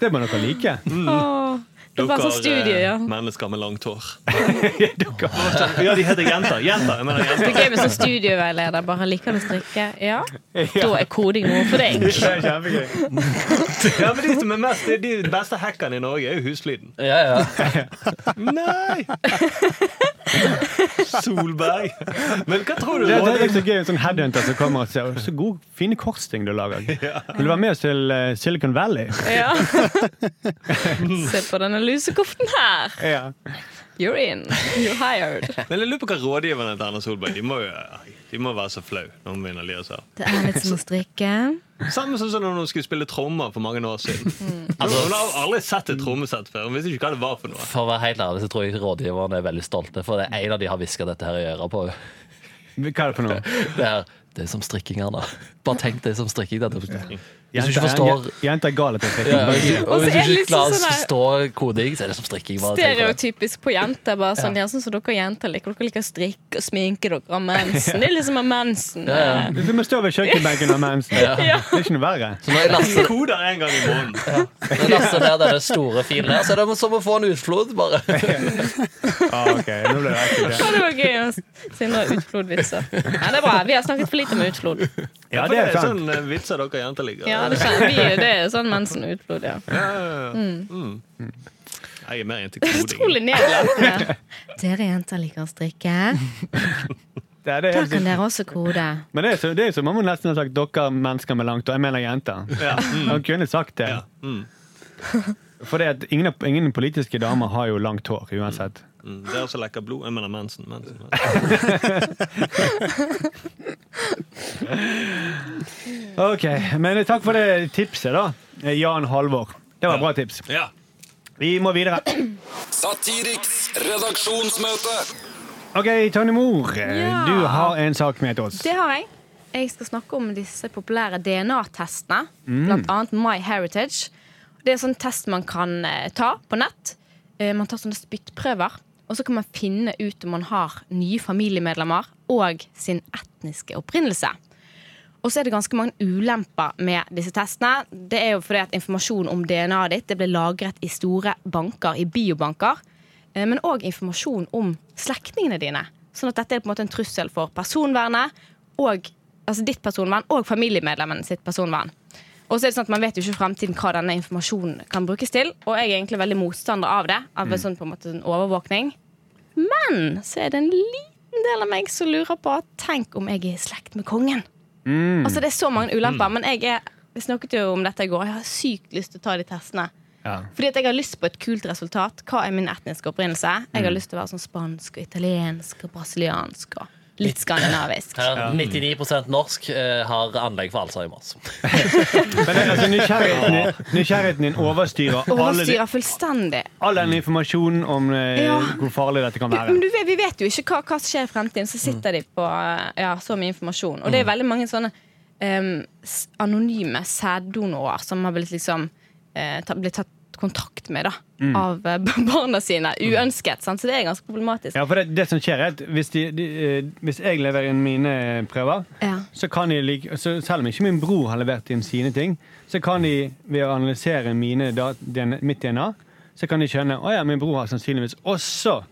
Det må dere like. Åh, Det var sånn studio, eh, ja. mennesker med langt hår. ja, de heter jenter. Jenter! Jeg mener Det jenter. er gøy med sånn studieveileder. Bare liker du å strikke? Ja. Da er koding noe for deg. Det er kjempegøy. Ja, men de som er mest, de beste hackerne i Norge, er jo Husfliden. Ja, ja. Nei! Solberg. Men hva tror du? Det, det er Ronny? så gøy en sånn headhunter som kommer og sier Så god, fine korsting du lager. Vil du være med oss til eh, Silicon Valley? Ja. Se på denne lusekoften her. Ja. You're in. You're hired. Men jeg lurer på hva rådgiverne til Erna Solberg De må, jo, de må være så flau når hun vinner Lias her. Det er litt som å strikke. sånn. Samme som sånn når hun skulle spille trommer for mange år siden. Mm. Altså, hun har aldri sett et trommesett før. Hun visste ikke hva det var for noe. For å være helt ærlig så tror jeg rådgiverne er veldig stolte, for det er en av de har hviska dette her i øret på. Hva er det for noe? Det her Det er som strikking, Erna. Bare tenk det er som strikking. Dette. Hvis du Jenter- ikke forstår j- Jenter er gale på strikking. ja, og Og så hvis du er det ikke litt klarer å sånn her- forstå koding, så er det som strikking. Bare tenk på det. Stereotypisk på jenter. Bare sånn, ja. sånn som dere jenter liker. Dere liker å strikke og sminke dere har mensen. Det er liksom av mensen. Ja, ja. Du må stå ved kjøkkenbenken og mensen. Det er ikke noe verre. Så når jeg laster, Koder en gang i måneden. når jeg laster ned denne store filen her, så er det som å få en utflod, bare. Ah, ok, nå ble det ekkelt. ja. Ja, Det var gøy å sende utflodvitser. Ja, det er bra. Vi har snakket for lite om utflod. Ja, For det er sant. sånn eh, vitser dere jenter liker. Ja, det kjenner vi. Det er sånn mensen og utflod, ja. Jeg er mer inntil koding. Utrolig nedlatende. Dere jenter liker å strikke. Det er, det er, helt sykt. dere også kode. men det er, så, det er som om hun nesten har sagt 'dere mennesker med langt', og jeg mener jenter. Ja. Hun kunne sagt det. Ja. Mm. For det at ingen, ingen politiske damer har jo langt hår uansett. Mm. Dere som lekker blod. Jeg mener mensen. mensen, mensen. Ok, Men takk for det tipset, da. Eh, Jan Halvor. Det var bra tips. Ja. Vi må videre. Satiriks redaksjonsmøte. Ok, Tonje Mor, Ja. du har en sak med til oss. Det har jeg. Jeg skal snakke om disse populære DNA-testene, blant annet MyHeritage. Det er en sånn test man kan eh, ta på nett. Eh, man tar sånne spyttprøver, og så kan man finne ut om man har nye familiemedlemmer og sin etniske opprinnelse. Og så er det ganske mange ulemper med disse testene. Det er jo fordi at Informasjon om DNA-et ditt det ble lagret i store banker, i biobanker. Eh, Men òg informasjon om slektningene dine. Sånn at dette er på en måte en trussel for personvernet, og, altså ditt personvern og familiemedlemmene sitt personvern. Og så er det sånn at Man vet jo ikke i fremtiden hva denne informasjonen kan brukes til. Og jeg er egentlig veldig motstander av det. Av en sånn på en måte en overvåkning. Men så er det en liten del av meg som lurer på Tenk om jeg er i slekt med kongen? Altså Det er så mange ulemper, men jeg er vi snakket jo om dette i går. Jeg har sykt lyst til å ta de testene. Ja. Fordi at jeg har lyst på et kult resultat. Hva er min etniske opprinnelse? Jeg har lyst til å være sånn spansk og italiensk og brasiliansk og litt skandinavisk. Her, 99 norsk eh, har anlegg for Alzheimers. Men det, altså, nysgjerrigheten, din- nysgjerrigheten din overstyrer, alle de- Overstyrer fullstendig. all den informasjonen om eh, Ja. hvor farlig dette kan være. Men du, vet- vi vet jo ikke hva, hva som skjer i fremtiden, så sitter de på ja, så mye informasjon. Og det er Mm. veldig mange sånne em, s- anonyme sæddonorer som har blitt liksom eh, ta, blitt tatt kontakt med da, Mm. av eh, barna sine, uønsket. Sant? Så det er ganske problematisk. Ja, for det, det som skjer er at hvis, de, de, eh, hvis jeg leverer inn mine eh, prøver, Ja. så kan de, like- så selv om ikke min bror har levert inn sine ting, så kan de ved å analysere mine da, DNA, mitt DNA, så kan de skjønne at ja, min bror har sannsynligvis også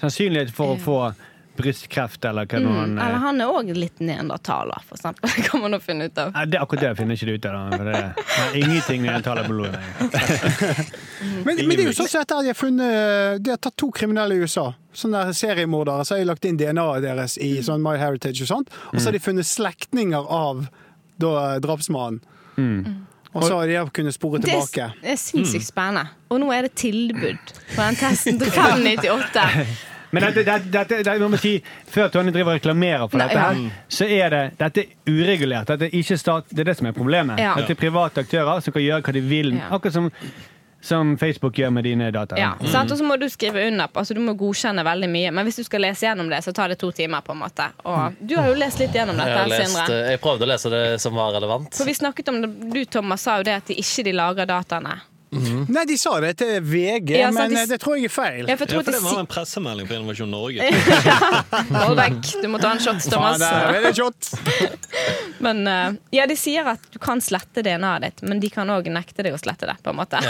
sannsynlighet Ja. for Mm. å få brystkreft eller hva nå han Eller eh, han er òg litt neandertaler, for eksempel. Det kan man nå finne ut av. Nei, det, akkurat det finner ikke du ut av. da, For det, det er ingenting når jeg taler på blodet. Men, men det er jo sånn som dette at de har funnet eh, De har tatt to kriminelle i USA. Sånne der seriemordere. Så har de lagt inn DNA-et deres i sånn My Heritage og sånt. Og så har de funnet slektninger av da, drapsmannen. Og så har de kunnet spore Det er tilbake. s- det er sinnssykt Mm. spennende. Og nå er det tilbud på den testen til 598. Men dette, dette, dette, dette må man si, før Tonje driver og reklamerer for Nei, dette, her, ja. Mm. så er det dette er uregulert. Dette er ikke stat, det er det som er problemet. Ja. Dette er private aktører som kan gjøre hva de vil. Ja. Akkurat som, som Facebook gjør med dine data. Ja, sant? Og så må du skrive under på altså, Du må godkjenne veldig mye. Men hvis du skal lese gjennom det, så tar det to timer. på en måte Og du har jo lest litt gjennom Jeg, dette. har lest, Sindre. eh, jeg prøvde å lese det som var relevant. For vi snakket om det, Du Thomas, sa jo det at de ikke de lagrer dataene. Nei, de sa det til VG, Ja, sant, men de eh, s- det tror jeg er feil. Ja, for jeg Ja, tror for det at de må ha si en pressemelding på Innovasjon Norge. Hold vekk, du må ta en shot, Faen, Thomas. der er det shot. Men eh, ja, de sier at du kan slette DNA-et ditt, men de kan òg nekte deg å slette det. på en måte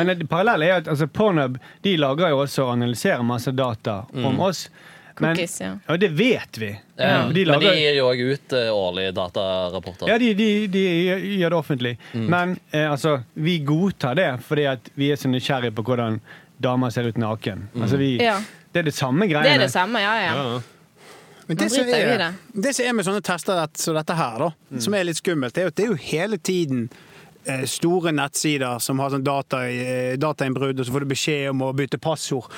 Men det parallelle er jo at altså, Pornhub de lager jo også og analyserer masse data om oss. Men, Mm. Cookies, ja. Og det vet vi. Ja. De Men de lager, gir jo òg ut eh, årlige datarapporter. Ja, de, de, de gjør det offentlig. Mm. Men eh, altså, vi godtar det fordi at vi er så nysgjerrige på hvordan damer ser ut naken. Mm. Altså, vi, Ja. Det er det samme Det er greiene. det samme, ja ja. Ja. Men Man det som, driter jo i er, det som er med sånne tester det- som dette her, da, som er litt skummelt, det er jo at det er jo hele tiden eh, store nettsider som har sånn data, eh, datainnbrudd, og så får du beskjed om å bytte passord.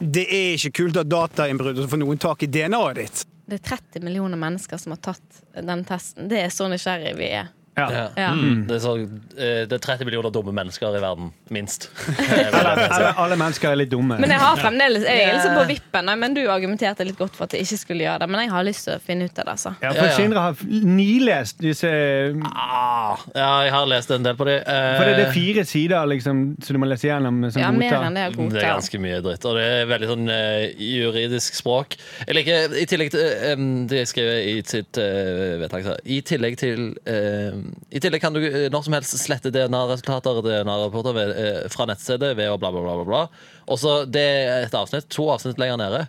Det er ikke kult at datainnbrudd, og så får noen tak i DNA-et ditt. Det er 30 millioner mennesker som har tatt den testen. Det er så nysgjerrig vi er. Ja. Mm. Ja. Mm. Det, er så, eh, det er 30 millioner dumme mennesker i verden, minst. Eller, eller alle mennesker er litt dumme. Men jeg har fremdeles Jeg er liksom på vippen, nei, men du argumenterte litt godt for at jeg ikke skulle gjøre det. Men jeg har lyst til å finne ut av det. Altså. Ja, Ja, for ja. Sindre har nilest disse For Ah, ja, jeg har lest en del på det. eh, det, det er fire sider liksom, så du må lese gjennom. Som Ja, mer godtar. enn Mm, det jeg Mm, Det er godtar. ganske mye dritt, og det er veldig sånn eh, juridisk språk. Jeg liker, I tillegg til eh, em, det jeg skrev i sitt eh, vedtak så, I tillegg til eh, I tillegg kan du eh, når som helst slette DNA-resultater DNA-rapporter ved, eh, fra nettstedet ved å bla, bla, bla. bla, bla. Og så det er et avsnitt, to avsnitt lenger nede.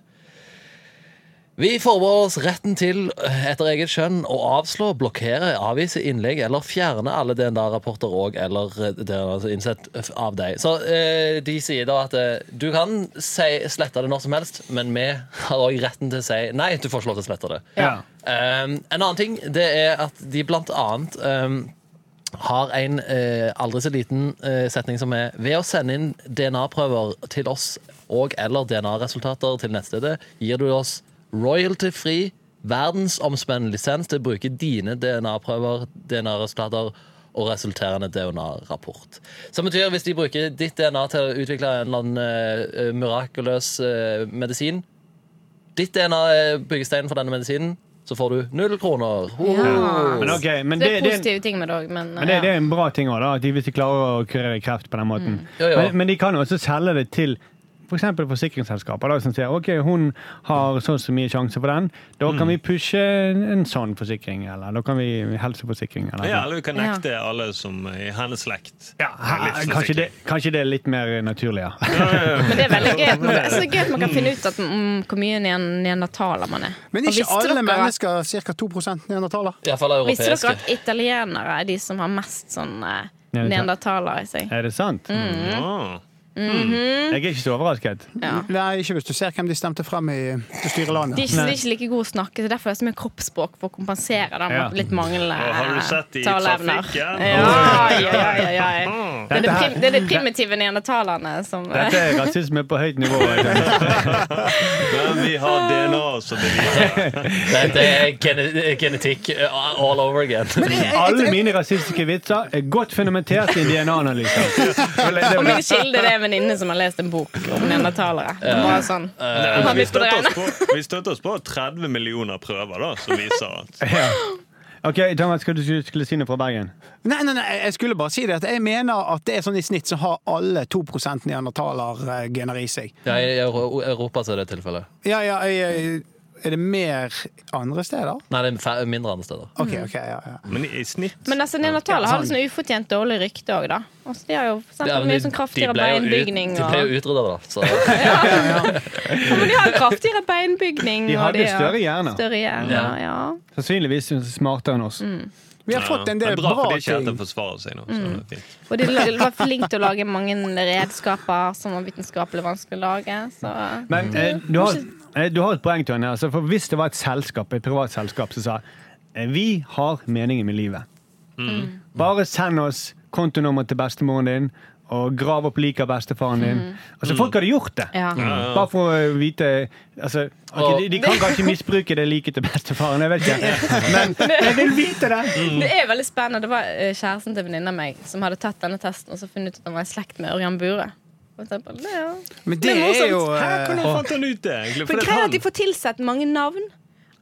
Vi forbeholder oss retten til, eh, etter eget skjønn, å avslå, blokkere, avvise innlegg eller fjerne alle DNA-rapporter og eller eh, DNA altså innsett av deg. Så eh, de sier da at eh, du kan si, slette det når som helst, men vi har òg retten til å si nei, du får ikke lov til å slette det. Ja. Um, en annen ting det er at de blant annet um, har en eh, aldri så liten eh, setning som er Ved å sende inn DNA-prøver til oss og eller DNA-resultater til nettstedet, gir du oss royalty-fri, verdensomspennende lisens til å bruke dine DNA-prøver, DNA-resultater og resulterende DNA-rapport. Som betyr hvis de bruker ditt DNA til å utvikle en eller annen eh, eh, mirakuløs eh, medisin, ditt DNA er byggesteinen eh, for denne medisinen, så får du null kroner. Ho! Ja. Men, ok, Så men det det, er det, positive ting med det òg, men, men det, det ja. er en bra ting også, da, at de, hvis de klarer å kurere kreft på den måten. Mm. Jo, jo. Men, men de kan jo også selge det til for eksempel forsikringsselskaper da, som sier ok, hun har så og så mye sjanse for den. Da kan Mm. vi pushe en, en sånn forsikring, eller da kan vi helseforsikring. Eller, sånn. Ja, eller vi kan nekte alle som er i hennes slekt. Ja, Livsforsikring. kanskje, det, kanskje det er litt mer naturlig, ja. men det er veldig gøy. at Man, så gøy at man kan finne ut at, mm, hvor mye nean- neandertaler man er. Men Og ikke visste alle dere at- mennesker, ca. 2 neandertaler. I hvert fall Visste europeiske. dere at italienere er de som har mest sånn eh, Neandertal. neandertaler i seg? Er det sant? Ah. Jeg er ikke så overrasket. Mm. Ja. Nei, ikke hvis du ser hvem de stemte frem i til å styre De er, landet. ikke, de er ikke like gode å snakke, så derfor er det så mye kroppsspråk for å kompensere da, med Ja. litt manglende Og har du sett de i taleevner. trafikken? Ja, ja, ja, ja, ja. Det er Dette det, her- prim, det er det primitive neandertalerne som Dette er rasisme på høyt nivå. altså. Men vi har DNA som beviser. Nei, Det er gene- genetikk eh, all over again. Alle mine rasistiske vitser er godt fundamentert i DNA-analyser. Og min kilde det er en venninne som har lest en bok om neandertalere. Det er bare sånn. Men Vi vi på det støtter oss på, vi støtter oss på 30 millioner prøver da, som viser at Ok, Thomas, skal du skulle- skulle si noe fra Bergen? Nei, nei, nei, jeg skulle bare si det at jeg mener at det er sånn i snitt så har alle 2 neandertalergener eh, i seg. Ja, I Euro- Europa så er det tilfellet. Ja, ja, jeg, er det mer andre steder? Nei, det er fe- mindre andre steder. OK, ok, ja, ja. Men i snitt Men altså, neandertalere har litt sånn ufortjent dårlig rykte òg, da. Altså, de har jo for Ja, eksempel, men mye sånn kraftigere ble jo ut- beinbygning. De Og, ble jo utrydda, da. Så. Ja, men de har jo kraftigere beinbygning. De og hadde har større hjerner. Større hjerner, ja. Sannsynligvis smartere enn oss. Vi har fått en Det del er bra, bra for de ikke ting. heter forsvarer seg nå. Mm. Så det er fint. Og de la- var flinke til å lage mange redskaper som var vitenskapelig vanskelig å lage. Så. Men eh, du, har, eh, du har et poeng, Tønne. Altså, for hvis det var et selskap, et privat selskap som sa eh, vi har meningen med livet. Mm. Bare send oss kontonummer til bestemoren din, og grav opp liket av bestefaren din. Altså, Folk hadde gjort det. Ja. Mm. Bare for å vite altså, ok, Og- de, de kan kanskje misbruke det liket til bestefaren, jeg vet ikke. Men jeg vil vite det! Det er veldig spennende. Det var eh, kjæresten til en venninne av meg som hadde tatt denne testen og så funnet ut at han var i slekt med Ørjan Bure. For eksempel. Det, ja. Men det er jo Hæ, eh, hvordan fant han ut det? sånn- egentlig? For Fordi greia er han- at de får tilsett mange navn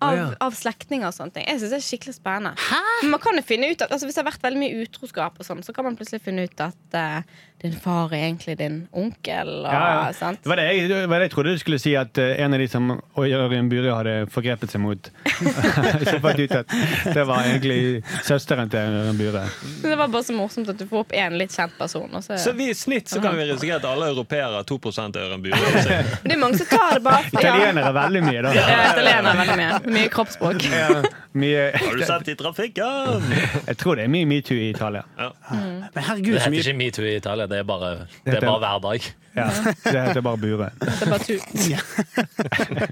av, av slektninger og sånne ting. Jeg synes det er skikkelig spennende. Men man kan jo finne ut at, altså Hvis det har vært veldig mye utroskap, og sånn, så kan man plutselig finne ut at eh, din far er egentlig din onkel. Og, Ja, ja. Ah, Sant? Det var det, jeg, det var det jeg trodde du skulle si, at eh, en av de som Ørjen Buri hadde forgrepet seg mot. Så fant jeg ut at det var egentlig søsteren til Ørjen Bure. Men det var bare så morsomt at du får opp én litt kjent person. Og så, Så vi i snitt så kan vi risikere at alle europeere har 2 er en bure. Det er mange som tar det bare for Italienere veldig mye, da. Ja, italiener er veldig mye. Mye kroppsspråk. Mye, Har du sett i trafikken? jeg tror det er mye metoo i Italia. Men herregud, Det så heter mye ikke metoo i Italia. Det er bare, det er bare hverdag. Ja, det heter bare Bure. Det er bare tut.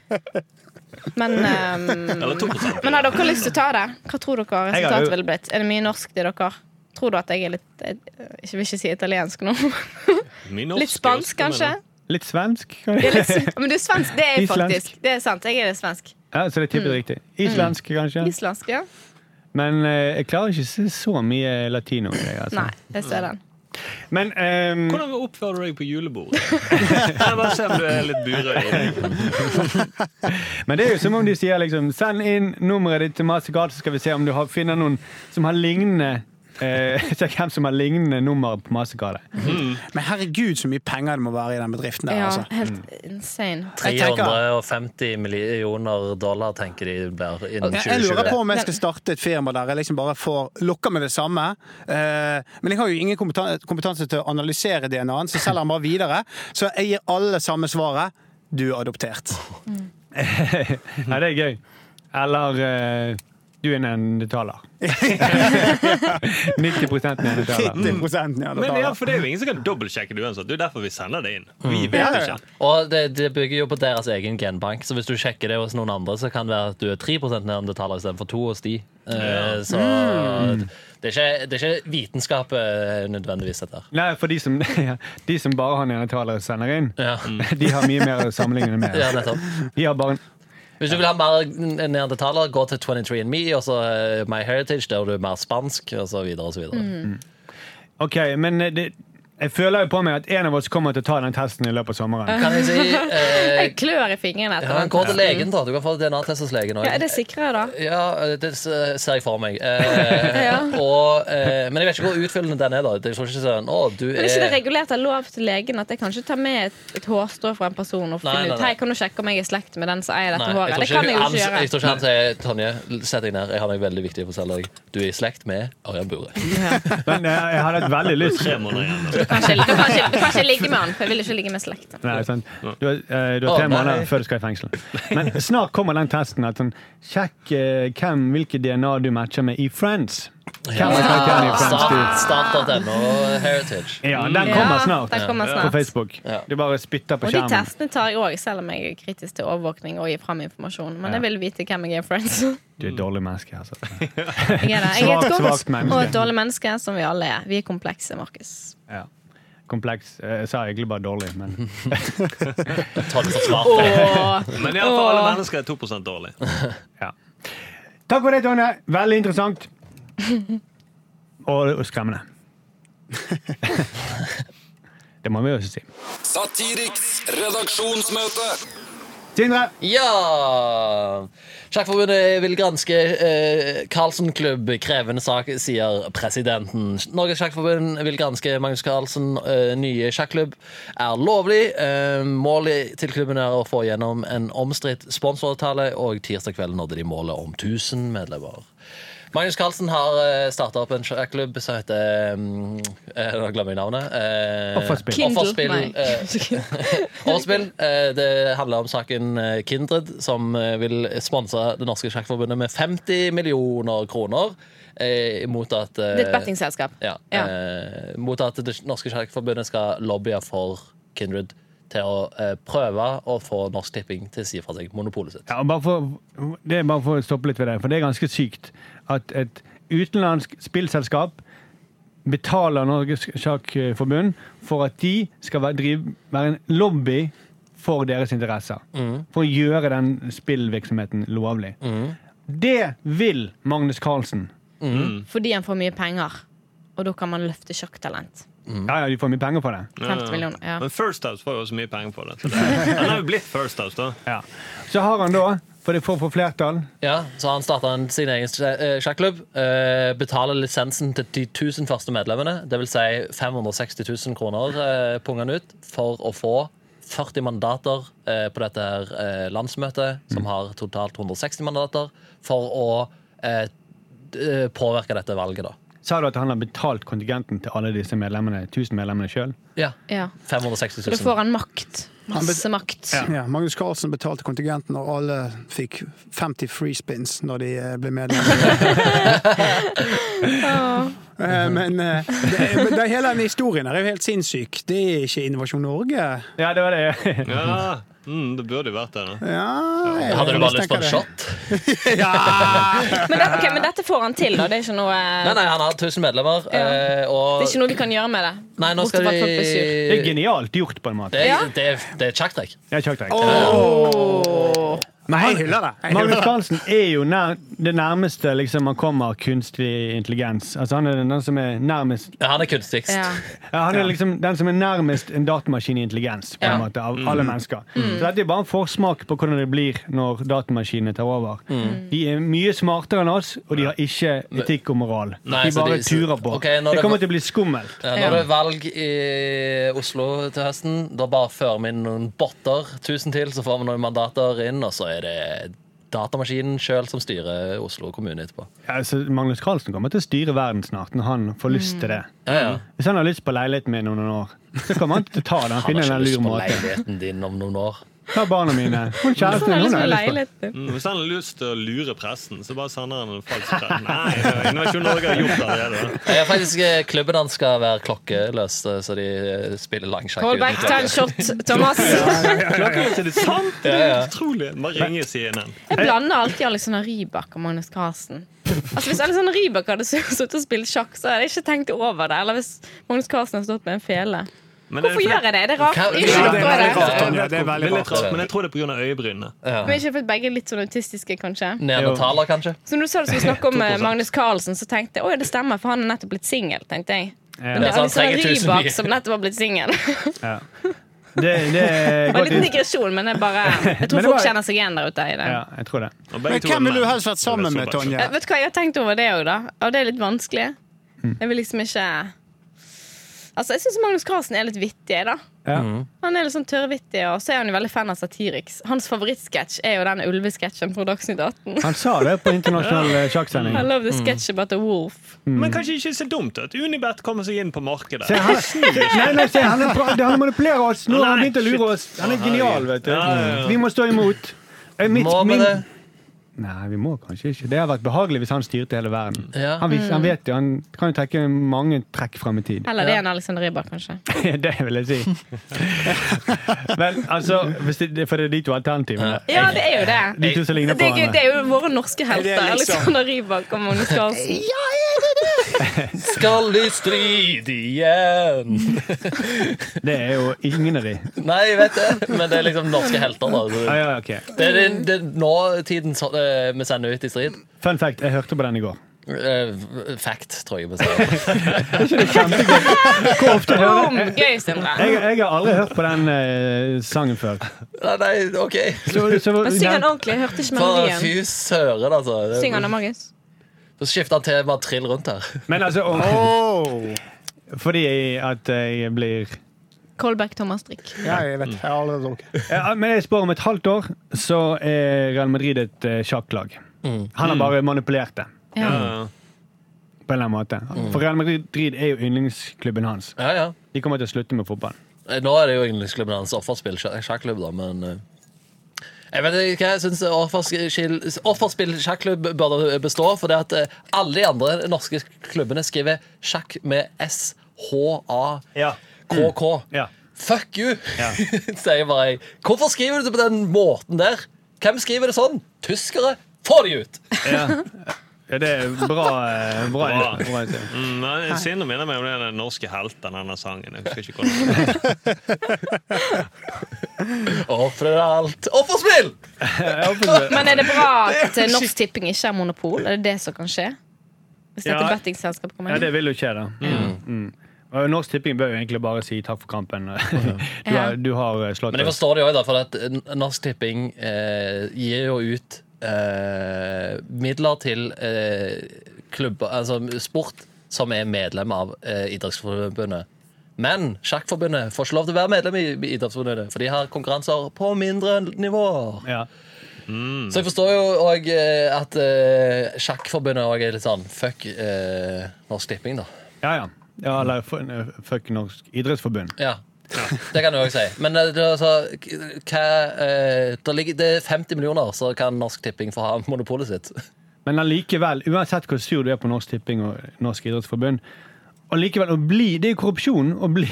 Men, ehm, Eller 2 men har dere lyst til å ta det? Hva tror dere Jeg har jo- resultatet ville blitt? Er det mye norsk til dere? Tror du at jeg er litt Jeg jeg vil ikke si italiensk nå. Min norsk Litt spansk, er også, kanskje? Litt svensk, Det kanskje? er litt, men du er svensk. Det er jeg Islandsk. faktisk. Det er sant. Jeg er litt svensk. Mm. Ja, så det tipper riktig. Islandsk, kanskje? Islandsk, ja. Men eh, jeg klarer ikke å se så mye latino i deg. Altså. Nei, jeg ser den. Men ehm, Hvordan oppfører du deg på julebordet? Jeg bare ser om du er litt burøy. Men det er jo som om de sier liksom Send inn nummeret ditt til Mastercard, så skal vi se om du har, finner noen som har lignende eh, Se hvem som har lignende nummer på Mastercardet. Men herregud, så mye penger det må være i den bedriften der, Ja, altså. helt insane. Jeg tenker- 350 millioner dollar tenker de blir innen Jeg, jeg lurer 2020. på om jeg skal starte et firma der jeg liksom bare får lokker med det samme. Eh, men jeg har jo ingen kompetan- kompetanse til å analysere DNA-en, så selger han bare videre. Så jeg gir alle samme svaret. Du er adoptert. Nei, det er gøy. Eller eh, du er en endetaler. 90 nedetaler. 90 ja, Men ja, adoptaler. for det er jo ingen som kan dobbeltsjekke det uansett. Det er jo derfor vi sender det inn. Vi Ja, vet ja, ja. ikke. Og det, det bygger jo på deres egen genbank, så hvis du sjekker det hos noen andre, så kan det være at du er 3 neandertaler istedenfor 2 hos de. Eh, Så det, er ikke, det er ikke vitenskap eh, nødvendigvis, dette her. Nei, for de som, de som bare har enetalere og sender inn, Ja. de har mye mer å sammenligne med. Ja, nettopp. De har bare en Hvis du vil ha mer neandertaler, gå til 23andMe og så eh, MyHeritage, der du er mer spansk, og så videre og så videre. Mm. Ok, men eh, det, jeg føler jo på meg at en av oss kommer til å ta den testen i løpet av sommeren. Kan jeg si eh, Jeg klør i fingrene etter ja, Gå til den. legen, da. Du kan få DNA-test hos legen Ja, er òg. det sikre, da? Ja, eh, det s- ser jeg for meg. Eh, Ja. og, eh, men jeg vet ikke hvor utfyllende den er. da Jeg tror ikke sånn, å, du Men er ikke det er regulert av lov til legen at jeg kan ikke ta med et, et hårstrå fra en person og Nei, finne nei, ut nei. Hei, kan du sjekke om jeg er i slekt med den som eier dette Nei, håret? Det jeg tror kan jeg ikke, jo han, ikke gjøre. jeg tror ikke han sier Tonje, sett deg ned. Jeg har noe veldig viktig på å fortelle deg. Du er i slekt med Ørjan Bure. Men eh, jeg hadde hatt veldig lyst Tre måneder igjen. Du kan, ikke, du, kan ikke, du kan ikke ligge med han, for jeg vil ikke ligge med slekt. Nei, sant. Du har, eh, du Å, har tre Ah, nei. måneder før du skal i fengsel. Men snart kommer den testen. At sånn, sjekk eh, hvem, hvilke DNA du matcher med i Friends. Hvem er karakteren i Friends du? Start- Start.no Heritage. Ja, den kommer snart den kommer på snart. Facebook. Ja. Du bare spytter på Og de skjermen. testene tar jeg òg, selv om jeg er kritisk til overvåkning og gir fram informasjon. Men jeg vil vite hvem jeg er friends. Jeg Du er et dårlig menneske, altså. er det. Jeg er Svakt, et svakt godt menneske. og et dårlig menneske, som vi alle er. Vi er komplekse, Markus. Ja. Kompleks. Eh, Jeg sa egentlig bare dårlig, men Tonje som svarte. Eh, Åh. Men iallfall alle mennesker er 2 dårlig. ja. Takk for det, Tonje. Veldig interessant. Og, og skremmende. Det må vi jo si. Satiriks redaksjonsmøte. Sindre, Ja! Sjakkforbundet vil granske eh, Carlsen Klubb. Krevende sak, sier presidenten. Norges Sjakkforbund vil granske Magnus Carlsen. Eh, nye sjakklubb er lovlig. Eh, målet til klubben er å få gjennom en omstridt sponsoravtale, og tirsdag kveld nådde de målet om 1000 medlemmer. Magnus Carlsen har starta opp en sjakklubb som heter mm, eh, Nå glemmer jeg navnet. Eh, Offerspill. Kindle, Offerspill, nei. eh, Overspill. eh, Det handler om saken eh, Kindred, som eh, vil sponse Det norske sjakkforbundet med 50 millioner kroner. eh, Mot at eh, Det er et bettingselskap. Ja, Ja. eh, Mot at Det norske sjakkforbundet skal lobbye for Kindred til å eh, prøve å få Norsk Tipping til å si fra seg monopolet sitt. Ja, og bare for, det er bare for å stoppe litt ved det, for det er ganske sykt at et utenlandsk spillselskap betaler Norges Sjakkforbund for at de skal være, drive, være en lobby for deres interesser. For å gjøre den spillvirksomheten lovlig. Det vil Magnus Carlsen. Fordi han får mye penger. Og da kan man løfte sjakktalent. Ja, ja, de får mye penger for det. 50 millioner. Ja. Men First House får jo også mye penger for det. Så det han har jo blitt First House, da. Ja. Så har han da, for det får for flertall Ja, så han starta sin egen sj- eh, sjakklubb. eh, Betaler lisensen til de 1000 første medlemmene, dvs. Si 560 000 kroner, eh, punger han ut, for å få 40 mandater eh, på dette her eh, landsmøtet, som har totalt 160 mandater, for å eh, d- eh, påvirke dette valget, da. Sa du at han har betalt kontingenten til alle disse medlemmene, 1000 medlemmene sjøl? Ja. Ja. 560 Så da 000. får han makt. Han bet- Masse makt. Ja, Magnus Carlsen betalte kontingenten, og alle fikk 50 free spins når de eh, ble medlemmer. Eh, Men eh, det, er- men det, er hele den historien her er jo helt sinnssyk. Det er ikke Innovasjon Norge. Ja, det var det. Ja, mm, Det burde jo vært det. da Ja, jeg Hadde du bare lyst på mistenker en det. shot? Men, det, ok, men dette får han til, da. Det er ikke noe, Nei, nei, han har 1000 medlemmer, Ja. eh, og det er ikke noe vi kan gjøre med det. Nei, nå Bortsett skal fra de at folk blir sur. Det er genialt gjort, på en måte. Det Ja. er, det er, det er et sjakktrekk. Jeg har ikke sagt det. Åh! Nei, jeg hyller det. Jeg Magnus hyller det. Carlsen er jo nær, det nærmeste liksom, man kommer kunstig intelligens. Altså, han er den som er nærmest Ja, han er kunstigst. Ja. ja, Han er liksom den som er nærmest en datamaskin i intelligens, på en Ja. Mm. måte, av alle mennesker. Så dette er bare en forsmak på hvordan det blir når datamaskinene tar over. Mm. De er mye smartere enn oss, og de har ikke etikk og moral. Nei, de så bare de- så- turer på. Ok, når det det- kommer til å bli skummelt. Ja, Når det er valg i Oslo til høsten, da bare fører vi inn noen botter. Tusen til, så får vi noen mandater inn, og så er det datamaskinen sjøl som styrer Oslo kommune etterpå. Ja, så Magnus Carlsen kommer til å styre verden snart, når han får lyst til det. Ja, ja. Hvis han har lyst på leiligheten min om noen år, så kommer han til å ta den. Han Finne har ikke en lur lyst på måte. leiligheten din om noen år. Ta barna mine. Hun kjæresten Sånn er det min, hun som har med jeg lyst på. leiligheten. Mm, Hvis han har lyst til å lure pressen, så bare sender han en falsk press. Nei, det er Innovasjon Norge har gjort det allerede. Jeg er faktisk eh, Klubben hans skal være klokkeløs, eh, så de eh, spiller langsjakk. uten Hold back, klokke. ta en shot, Thomas. Klokken er til det sant! Det Ja, er ja. utrolig. Bare ringe CNN. Jeg blander alltid Alexander Rybak og Magnus Carlsen. Altså Hvis Alexander Rybak hadde sittet og spilt sjakk, så hadde jeg ikke tenkt over det. Eller hvis Magnus Carlsen hadde stått med en fele. Hvorfor Men det er fordi- gjør jeg det? Det er rart. Hva- Unnskyld, Ja, det er hvorfor veldig er rart, det? Tonje. Det er Det veldig er litt rart. rart, men jeg tror det er pga. øyebrynene. Men ikke fordi begge er litt sånn autistiske, kanskje. Neandertaler, kanskje? Så når du sa du skulle snakke om eh, 2%. Magnus Carlsen, så tenkte jeg å ja, det stemmer, for han er nettopp blitt singel. tenkte jeg. Men det Ja, er sånn så han Alexander trenger tusen Rybak nye. som nettopp har blitt singel. Det Ja. Det, det er var godt en liten innspill. digresjon, men jeg, bare, jeg Men det tror folk var- kjenner seg igjen der ute i det. Ja, jeg tror det. Og begge Men to er hvem ville du menn. helst vært Det sammen er med, såpass. Tonje? Eh, Vet du hva, Jeg har tenkt over det òg, da. Og det er litt vanskelig. Mm. Jeg vil liksom ikke Altså, Jeg syns Magnus Carlsen er litt vittig. jeg, da Ja. Han er litt sånn tørrvittig, og så er han jo veldig fan av Satiriks. Hans favorittsketsj er jo den ulvesketsjen fra Dagsnytt 18. Han sa det på internasjonal eh, sjakksending. I love the sketch about the wolf. Mm. Men kanskje ikke så dumt at Unibet kommer seg inn på markedet. Se, han, nei, nei, se, han, er bra- han manipulerer oss! Nå har han begynt å lure oss. Han er genial, vet du. Ja, ja, ja. Vi må stå imot. Eh, mitt- Må vi min- det? Nei, vi må kanskje ikke. Det hadde vært behagelig hvis han styrte hele verden. Ja. Han, Mm. vis, han vet jo, han kan jo trekke mange trekk fram i tid. Eller det er en Alexander Rybak, kanskje. det vil jeg si. Vel, altså, hvis det, det- for det er de to alternativene. Ja, det er jo det. De to som ligner Det er, på gøy, det hverandre. er jo våre norske det helter. liksom- Alexander Rybak og Magnus Carlsen. Skal i strid igjen? Det er jo ingen av de. Nei, jeg vet det, men det er liksom norske helter, da. Ah, Ja, så- ja, ok. Det er, det, det er nåtiden så- eh, vi sender ut i strid. Fun fact, jeg hørte på den i går. Eh, Fact, tror jeg vi sier. Hvor ofte hører Boom! Gøy, Sindre. jeg, jeg har aldri hørt på den eh, sangen før. Nei, nei, OK. Så, så, Men syng den ordentlig. Jeg hørte ikke For melodien. fy søren, altså. Syng den da, Magnus. Så skifter han til bare trill rundt her. men altså, om, Åh. fordi at jeg blir Callback Thomas Drikk. Ja, jeg vet. Jeg har aldri drukket. Ja, men jeg spår om et halvt år så er Real Madrid et eh, sjakklag. Han har bare manipulert det Ja, Ja. ja. på en eller annen måte. For Real Madrid er jo yndlingsklubben hans. Ja, ja. De kommer til å slutte med fotball. Eh, Nå er det jo yndlingsklubben hans offerspill, sjakk- sjakklubb, da, men eh, jeg vet ikke hva jeg syns offerskill- offerspill sjakklubb bør bestå. For det at eh, alle de andre norske klubbene skriver sjakk med S-H-A-K-K. Ja. Mm. Ja. Fuck you! sier jeg bare jeg. Hvorfor skriver du det på den måten der? Hvem skriver det sånn? Tyskere? Få de ut! det er bra. eh, bra, Bra. bra. Mm, nei, Sindre minner meg om det er den norske helten, denne sangen. Jeg husker ikke hvordan den er. Ofrer alt. Offerspill! Men er det bra at eh, Norsk Tipping ikke har monopol? Er det det som kan skje? Hvis dette Ja. bettingselskapet kommer Ja, inn? det vil jo skje, da. Mm. Og Norsk Tipping bør jo egentlig bare si takk for kampen. Du Ja. har, du har eh, slått Men jeg oss. forstår det jo også, da, for at eh, Norsk Tipping eh, gir jo ut eh, midler til eh, klubber, altså sport som er medlem av eh, Idrettsforbundet. Men Sjakkforbundet får ikke lov til å være medlem i i Idrettsforbundet, for de har konkurranser på mindre nivåer. Ja. Så jeg forstår jo òg eh, at eh, Sjakkforbundet òg er litt sånn fuck eh, Norsk Tipping, da. Ja, ja. ja eller f- fuck Norsk Idrettsforbund. Ja. Det kan du òg si. Men eh, det, er altså, k- hva, eh, der ligger, det er 50 millioner, så kan Norsk Tipping få ha monopolet sitt. Men allikevel, uansett hvor sur du er på Norsk Tipping og Norsk Idrettsforbund allikevel, å bli, Det er jo korrupsjon å, bli,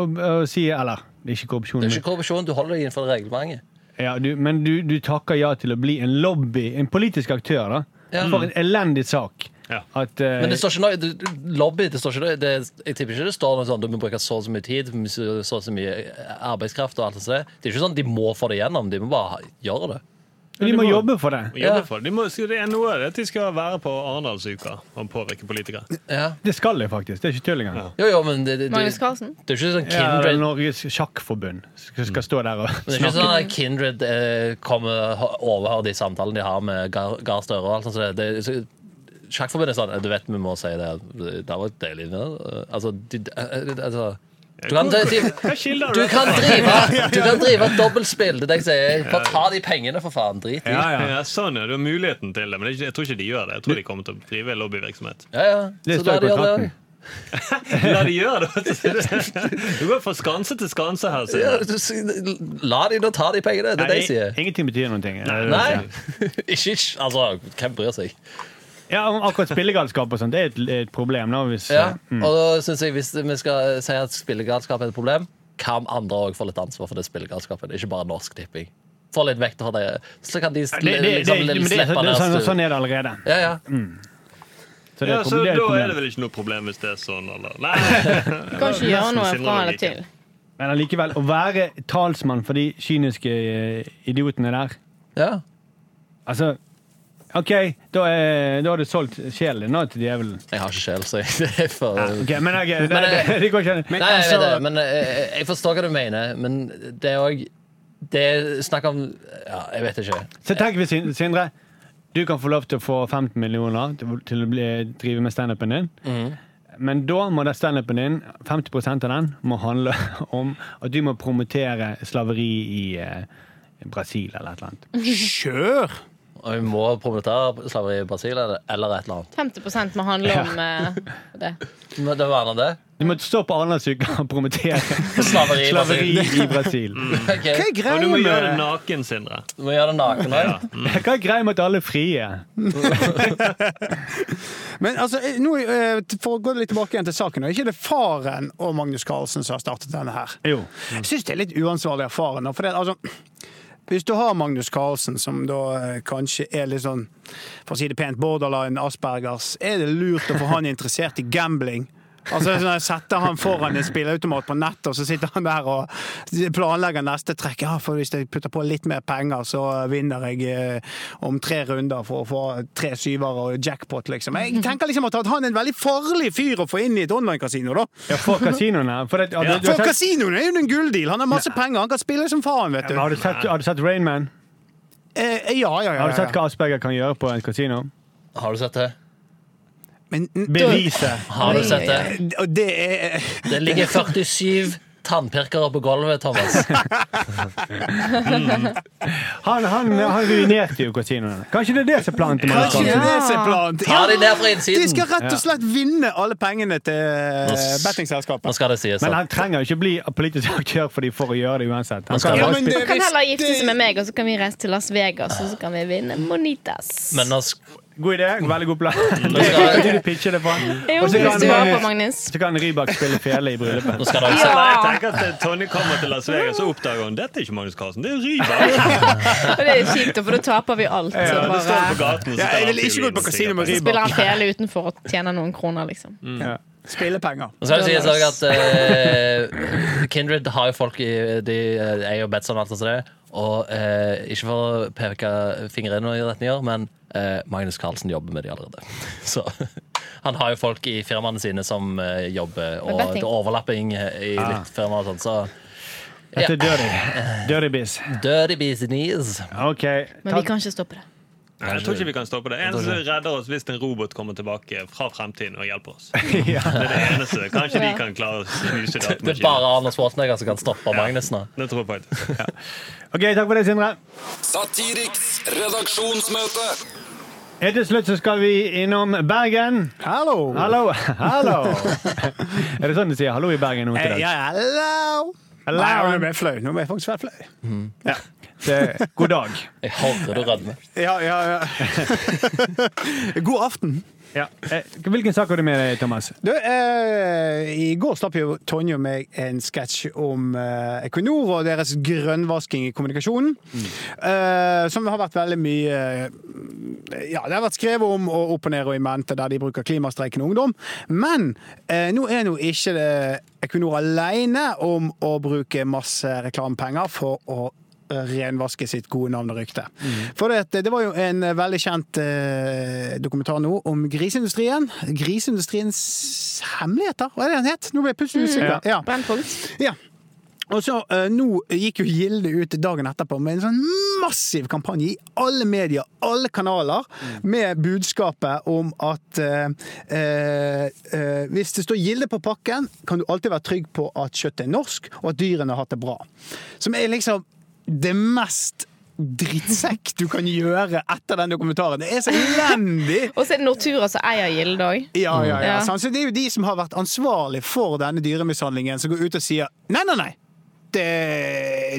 å, å si Eller, det er ikke korrupsjon, Det er ikke korrupsjon, du holder deg innenfor reglementet. men, ja, du, men du, du takker ja til å bli en lobby, en politisk aktør, da. Ja. For en elendig sak. Ja. At, eh, Men det står ikke noe du- du- Lobby, det står ikke noe det, Jeg tipper ikke det står noe sånn du må bruke så og så mye tid, så eh, så og så mye arbeidskraft og alt det der. Det er ikke sånn de må få det gjennom, de må bare ha- gjøre det. Og de må jobbe for det. Jobbe for det. De må, det er noe av det at de skal være på Arendalsuka og påvirke politikere. Ja. Det skal de faktisk. Det er ikke tull engang. Jo, jo, men det, det, det, Magnus Carlsen. det er ikke sånn Ja, det er Kindred Norges sjakkforbund som skal stå der og det er ikke sånn snakke. at Kindred eh, kommer og overhører de samtalene de har med Gar, Gahr Støre. og alt sånt. som det. Det, så, Sjakkforbundet er sånn Du vet vi må si det. Det var deilig. Ja. Altså, de, eh, altså du kan, de, Hva skiller du det? kan drive Du kan drive et dobbeltspill. Det er det jeg sier. Bare ta de pengene, for faen. Drit i. Ja, ja. Ja, sånn, ja. Du har muligheten til det, men det er ikke- jeg tror ikke de gjør det. Jeg tror de kommer til å drive lobbyvirksomhet. Ja, ja. Det Så står la i de gjøre det kontrakten. òg. La de gjøre det! Du går fra skanse til skanse her. sier Ja, jeg. du s- la de nå ta de pengene. Det er det jeg sier. Ingenting betyr noen ting. Nei. Ikke, ikke Altså, hvem bryr seg? Ja, om akkurat spillegalskap og sånt, det er et, et problem. Da, hvis, Ja, Mm. og da synes jeg Hvis vi skal si at spillegalskap er et problem, kan andre òg få litt ansvar for det spillegalskapen, ikke bare Norsk Tipping. Få litt vekt for det, så kan de Det, det, det, liksom men det, det, slippe det, sånn, ned sånn Mm. er det allerede. Ja, ja. Så det er Ja, et så problem- det er et Da er det problem. vel ikke noe problem hvis det er sånn, eller Nei! Kan ikke gjøre noe Nesten fra eller Sindre til. Men allikevel, å være talsmann for de kyniske eh, idiotene der ja. Altså, OK, da, er, da har du solgt sjelen din nå til djevelen. Jeg har ikke sjel, så jeg det er for Ok, men ok, det, Men, det, eh, det går ikke an. Nei, jeg vet altså- det, men jeg, jeg forstår hva du mener, men det er òg Det er snakk om Ja, jeg vet ikke. Så tenk hvis Sin- Sindre Du kan få lov til å få 15 millioner til, til å bli, drive med standupen din. Mm. Men da må den standupen din 50 av den må handle om at du må promotere slaveri i eh, Brasil eller et eller annet. Kjør! Og vi må promotere slaveri i Brasil eller eller et eller annet. 50 må handle om eh, det. Men det var noe det. Du må stå på Arendalsuka og promotere Slaveri i slaveri Brasil. Mm. i Brasil. Ok, Hva er Og du greia må gjøre det med naken, Sindre. Vi må gjøre det naken òg. Hva er greia med at alle er frie? Men altså, eh, nå, eh, For å gå litt tilbake igjen til saken. Er ikke det faren og Magnus Carlsen som har startet denne her? Jo. Jeg syns det er litt uansvarlig av faren. da, For det, altså, hvis du har Magnus Carlsen, som da eh, kanskje er litt sånn for å si det pent, borderline Aspergers, er det lurt å få han interessert i gambling? Altså sånn, jeg Setter han foran en spilleautomat på nettet, og så sitter han der og planlegger neste trekk. Ja, for hvis jeg putter på litt mer penger, så vinner jeg eh, om tre runder for å få tre syvere og jackpot, liksom. Jeg tenker liksom at han er en veldig farlig fyr å få inn i et online-kasino, da. Ja, for kasinoene. For det, har, du, du For har, sett, kasinoen er jo en gulldeal! Han har masse penger, han kan spille som faen, vet du. har, du sett, har du sett Rain Man? Eh, ja, ja, ja, Har du ja, sett ja. hva Asperger kan gjøre på en kasino? Har du sett det? Men n- Bevise. Har du sett det? og det er Det ligger 47 tannpirkere på gulvet, Thomas. Han, han, han ruinerte jo kasinoene. Kanskje det er det som er planen til Magnus Kanskje Carlsen? det er sin plan. Ta de ned fra innsiden. De skal rett og slett vinne alle pengene til eh, s- Nå bettingselskapet. skal det sies Men at han trenger jo ikke bli politisk aktør for de for å gjøre det uansett. Han skal kan jo- bare Ja, men spille- det- Kan Hvis heller gifte det- seg med meg, og så kan vi reise til Las Vegas, og så kan vi vinne Monitas. Men nå sk- God idé, veldig god plan. Mm. Det skal jeg- kan du pitche det for han. Jo, Og så hvis kan, du hører på, eh, Magnus. så kan Rybak spille fele i bryllupet. nå skal det også Ja. Eller Altså, jeg tenker at eh, Tonje kommer til Las Vegas og oppdager hun dette er ikke Magnus Carlsen, det er Ryberg. Og det er kjipt, for da taper vi alt. Så Ja, det står bare på gaten, og så Ja, jeg tar han ville ikke fiolin, gått på kasino med sikkert. Rybak. spiller han fele utenfor og tjener noen kroner, liksom. Ja. Spillepenger. nå skal det sies også at eh, Kindred har jo folk i De eh, er jo Betson og alt sånt som det. Og eh, ikke for å peke fingeren i retninger, men eh, Magnus Carlsen jobber med de allerede. Så han har jo folk i firmaene sine som eh, jobber, og betting. det er overlapping i Ah. litt firmaer og sånn, så Dette er dirty. Dirty biz. dirty business. OK. Men vi kan ikke stoppe det. Nei, Jeg tror ikke vi kan stoppe det. Eneste som redder oss hvis en robot kommer tilbake fra fremtiden og hjelper oss. Det er det eneste. Kanskje de Ja. kan klare å snuse Det er datamaskinen. bare Arne Schwarzenegger som kan stoppe Magnus nå. Det tror jeg faktisk. OK, takk for det, Sindre. Satiriks redaksjonsmøte. Helt til slutt så skal vi innom Bergen. Hallo! Hallo. Hallo. Er det sånn de sier hallo i Bergen nå Eh, til Ja, dags? hallo! Hallo. Nei, nå ble jeg flau. Nå ble jeg faktisk veldig flau. Mm. Det- Eh, God dag. Jeg hører du rødmer. Ja, ja, ja. God aften. Ja. Eh, Hvilken sak har du med deg, Thomas? Du, eh, I går slapp jo Tonje og meg en sketsj om eh, Equinor og deres grønnvasking i kommunikasjonen. Mm. Eh, som har vært veldig mye eh, Ja, det har vært skrevet om og opp og ned og i mente, der de bruker klimastreiken og ungdom. Men eh, nå er nå ikke eh, det Equinor alene om å bruke masse reklamepenger for å renvaske sitt gode navn og rykte. For det, det var jo en veldig kjent eh, dokumentar nå om griseindustrien. Griseindustriens hemmeligheter, hva er det den het? Nå ble jeg plutselig usikker. Ja. Brennpunkt. Ja. Og så, eh, Nå gikk jo Gilde ut dagen etterpå med en sånn massiv kampanje i alle medier, alle kanaler, med budskapet om at eh, eh, eh, hvis det står Gilde på pakken, kan du alltid være trygg på at kjøttet er norsk, og at dyrene har hatt det bra. Som er liksom det mest drittsekk du kan gjøre etter den dokumentaren. Det er så elendig! Og så er det Nortura som eier Gilde òg. Ja, ja, ja. Ja. sant? Så det er jo de som har vært ansvarlig for denne dyremishandlingen, som går ut og sier nei, nei, nei. Det,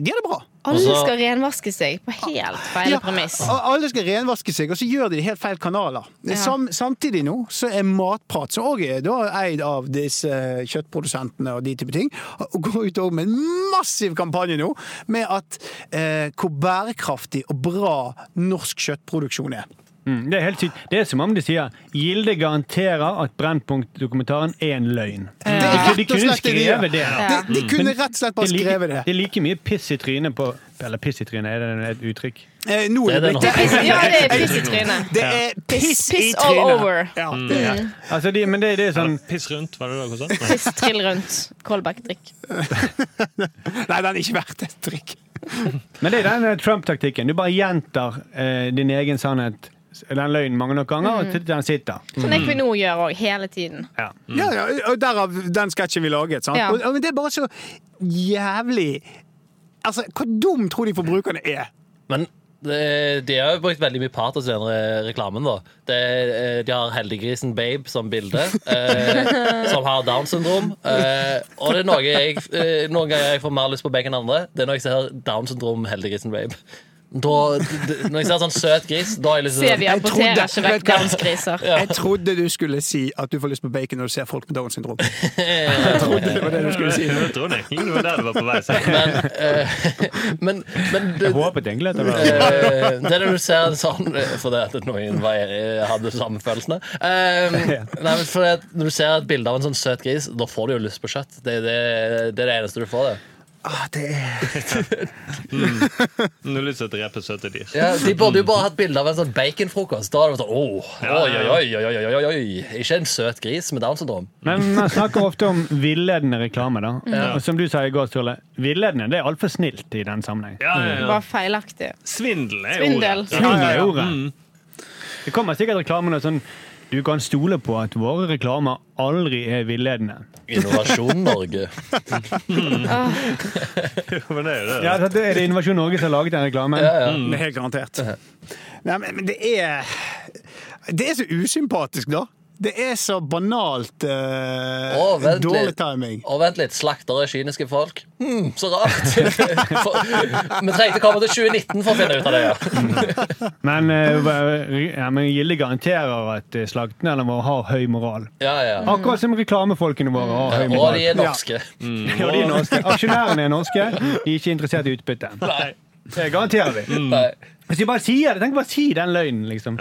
de har det bra. Alle Og så- skal renvaske seg på helt feil Ja, premiss. og alle skal renvaske seg, og så gjør de det i helt feil kanaler. Ja. Sam, samtidig nå så er Matprat, som òg er da eid av disse kjøttprodusentene og de type ting, og går ut også med en massiv kampanje nå med at eh, hvor bærekraftig og bra norsk kjøttproduksjon er. Mm, det er helt sykt. Det er som om de sier Gilde garanterer at Brennpunkt-dokumentaren er en løgn. Det er Altså, de rett og kunne slett det de gjør. skrevet det. De, de kunne Men rett og slett bare er like- skrevet det. Det er like mye piss i trynet på Eller piss i trynet, er det et uttrykk? Eh, nå Det er er det det blitt nå. Ja, det er piss i trynet. Det er piss, Piss- piss i all trynet. over. Ja, det er. Altså, de, men det, det er sånn Piss rundt, var det det du sa? Piss trill rundt. Kolbakk-drikk. Nei, den er ikke verdt et trykk. Men det er den eh, Trump-taktikken. Du bare gjentar eh, din egen sannhet, den løgnen, mange nok ganger, Mm. og til den sitter. Mm. Sånn Equinor gjør òg, hele tiden. Ja. Ja, ja, og derav den sketsjen vi laget. Sant? Ja. Og, og det er bare så jævlig Altså, Hvor dum tror de forbrukerne er? Men det- de har jo brukt veldig mye patos i den re- reklamen. da eh, De, de har heldiggrisen Babe som bilde, eh, som har Downs syndrom. Eh, og det er noe jeg eh, noen ganger jeg får mer lyst på begge enn andre. Det er når jeg ser Downs syndrom, heldiggrisen Babe. Da, d- når jeg ser sånn søt gris, da har jeg lyst til Se, vi å apporterer trodde- ikke vet vekk du hva? downsgriser. Jeg trodde du skulle si at du får lyst på bacon når du ser folk med Downs syndrom. Jeg trodde det var det du skulle si. Jeg trodde egentlig det var der du var på vei. Så. Men, eh, men, men det, Jeg håpet egentlig at det var Eh, det er når du ser det sånn eh, Fordi at noen var, eh, hadde samme følelsene. Eh, nei, men fordi at når du ser et bilde av en sånn søt gris, da får du jo lyst på kjøtt. Det, det, det er det eneste du får. Det. Ah, det er Nå har lyst til å drepe søte dyr. Ja, de burde jo bare hatt bilde av en sånn baconfrokost. Da hadde det vært sånn oh, Ja, oi, ja, oi, ja. oi, oi, oi, oi, oi. Ikke en søt gris med Downs syndrom. Men man snakker ofte om villedende reklame, da. Og som du sa i går, Sturle, villedende det er altfor snilt i den sammenheng. Ja, ja, ja. Bare feilaktig. Svindel er Svindel. ordet. Svindel er ordet. Mm. Det kommer sikkert reklamer der sånn Du kan stole på at våre reklamer aldri er villedende. Innovasjon Norge. Men det er jo det. Ja, det er det Innovasjon Norge som har laget den reklamen. Mm. det er helt garantert. Nei, men, men det er Det er så usympatisk, da. Det er så banalt eh, Å, vent litt. dårlig timing. Og vent litt, slaktere er kyniske folk. Hm, så rart. For, vi trengte å komme til 2019 for å finne ut av det. Ja. Mm. Men, eh, Mm. hva- ja, men Gilde garanterer at eh, slakterne våre har høy moral. Ja, ja. Akkurat som reklamefolkene våre har høy Og moral. Mm. de er norske. Ja, de er norske. Aksjonærene er norske. De er ikke interessert i utbytte. Nei. Mm. Det garanterer vi. Nei. Hvis de bare sier det, tenk bare å si den løgnen, liksom.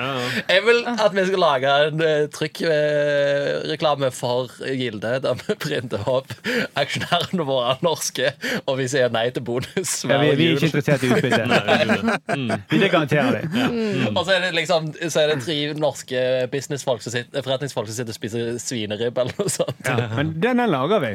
Jeg vil at vi skal lage en uh, trykkreklame for Gilde, der vi printer opp aksjonærene våre er norske, og vi sier nei til bonus. Ja, vi, hver vi er jul. ikke interessert i utbytte. Vi det garanterer de. Og så er, det liksom, så er det tre norske businessfolk som sitter, forretningsfolk som sitter og spiser svineribb eller noe sånt. Ja, men den, den lager vi.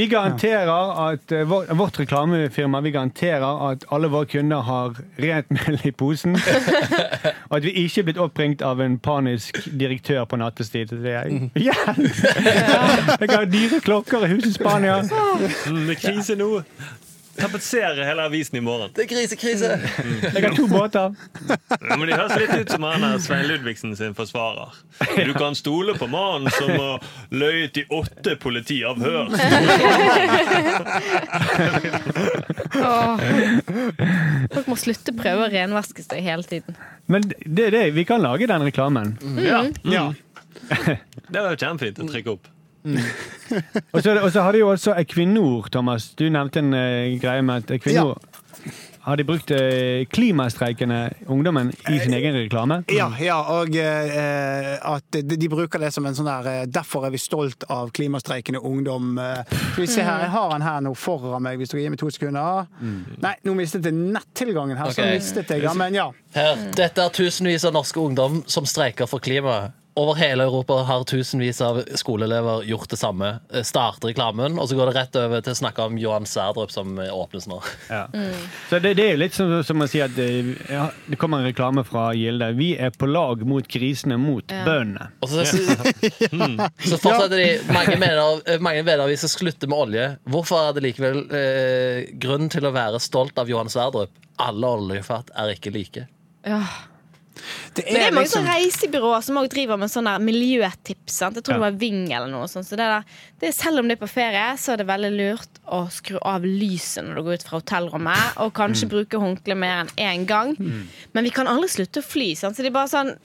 Vi garanterer at eh, vår, vårt reklamefirma vi garanterer at alle våre kunder har rent mel i posen. Og at vi ikke er blitt oppringt av en panisk direktør på nattestid. Det er jeg. Hjelp! Jeg har dyre klokker i huset i Spania. Mm, Det er krise nå. Tapetsere hele avisen i morgen. Det er krisekrise! Jeg har to båter. Ja, Men De høres litt ut som han er Svein Ludvigsen sin forsvarer. Du kan stole på mannen som har løyet i åtte politiavhør. Åh. Folk må slutte å prøve å renvaske seg hele tiden. Men det er det. Vi kan lage den reklamen. Ja. Ja. Mm. Det var jo kjempefint å trykke opp. Og så og så har de jo også Equinor, Thomas. Du nevnte en eh, greie med at Equinor Har de brukt eh, klimastreikende ungdommen i sin egen reklame? Mm. Ja, ja og eh, at de, de bruker det som en sånn der eh, 'derfor er vi stolt av klimastreikende ungdom'. eh. Skal vi se her, Jeg har den her nå foran meg, hvis dere gir meg to sekunder. Nei, nå mistet jeg nettilgangen her, så Ok. mistet jeg, ja, men ja. Her. Dette er tusenvis av norske ungdom som streiker for klimaet. Over hele Europa har tusenvis av skoleelever gjort det samme. Eh, Starter reklamen, og så går det rett over til å snakke om Johan Sverdrup som eh, åpnes nå. Ja. Så det, det er litt som, som å si at eh, ja, det kommer en reklame fra Gilde. Vi er på lag mot grisene, mot bøndene. Og så, Hmm. så, så fortsetter de Mange mener, eh, mange mener vi skal slutte med olje. Hvorfor er det likevel eh, grunn til å være stolt av Johan Sverdrup? Alle oljefat er ikke like. Ja. Det Men det er mange liksom- sånne reisebyråer som også driver med sånne der miljøtips. Sant? Jeg tror det var Ving eller noe sånt. Så det der, det, er- selv om det er på ferie, så er det veldig lurt å skru av lyset når du går ut fra hotellrommet, og kanskje bruke håndkle mer enn én gang. Men vi kan aldri slutte å fly, sant? så det er bare sånn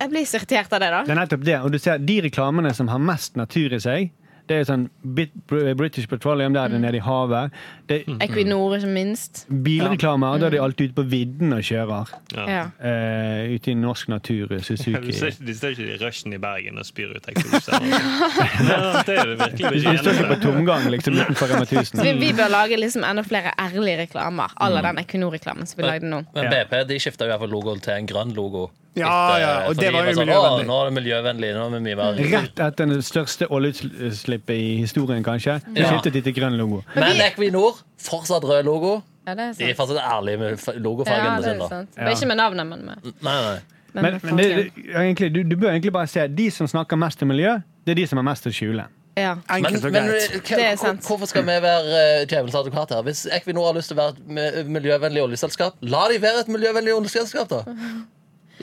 Jeg blir så irritert av det, da. Det er nettopp det. Og du ser de reklamene som har mest natur i seg. Det er sånn Bit British Petroleum, der er Mm. det nede i havet. Det er Equinor, ikke minst. bilreklamer, da er de alltid ute på vidden og kjører. Ja. Eh, ute i norsk natur, Du Suzuki. ser, ikke- de står ikke i rushen i Bergen og spyr ut eksos. eller noe. Nei, Det er det virkelig Du står ikke ikke på tomgang liksom, utenfor Rema 1000. Vi, vi bør lage liksom enda flere ærlige reklamer. Alle den Equinor-reklamen som vi lagde nå. Men Ja. BP de skifta logoen til en grønn logo. Ja, ja, og fordi det var jo sånn, miljøvennlig. «Å, Nå er det miljøvennlig. Nå er vi mye mer Rett etter det største oljeutslippet i historien, kanskje. Så Ja. skiftet de til grønn logo. Men Equinor, fortsatt rød logo. Ja, det er De er sant. fortsatt ærlige med f- Ja, logofargen det er sin. da. sant. Men Ikke med navnet, men med, Nei, nei. men Men, med men det, fargen. det, egentlig, du, du bør egentlig bare se de som snakker mest om miljø, det er de som har mest å skjule. Ja. Men, Enkelt og men greit. hva- Det er hvor- sant. hvorfor skal vi være eh, djevelens advokat her? Hvis Equinor har lyst til å være et mi- miljøvennlig oljeselskap, la de være et miljøvennlig oljeselskap, da.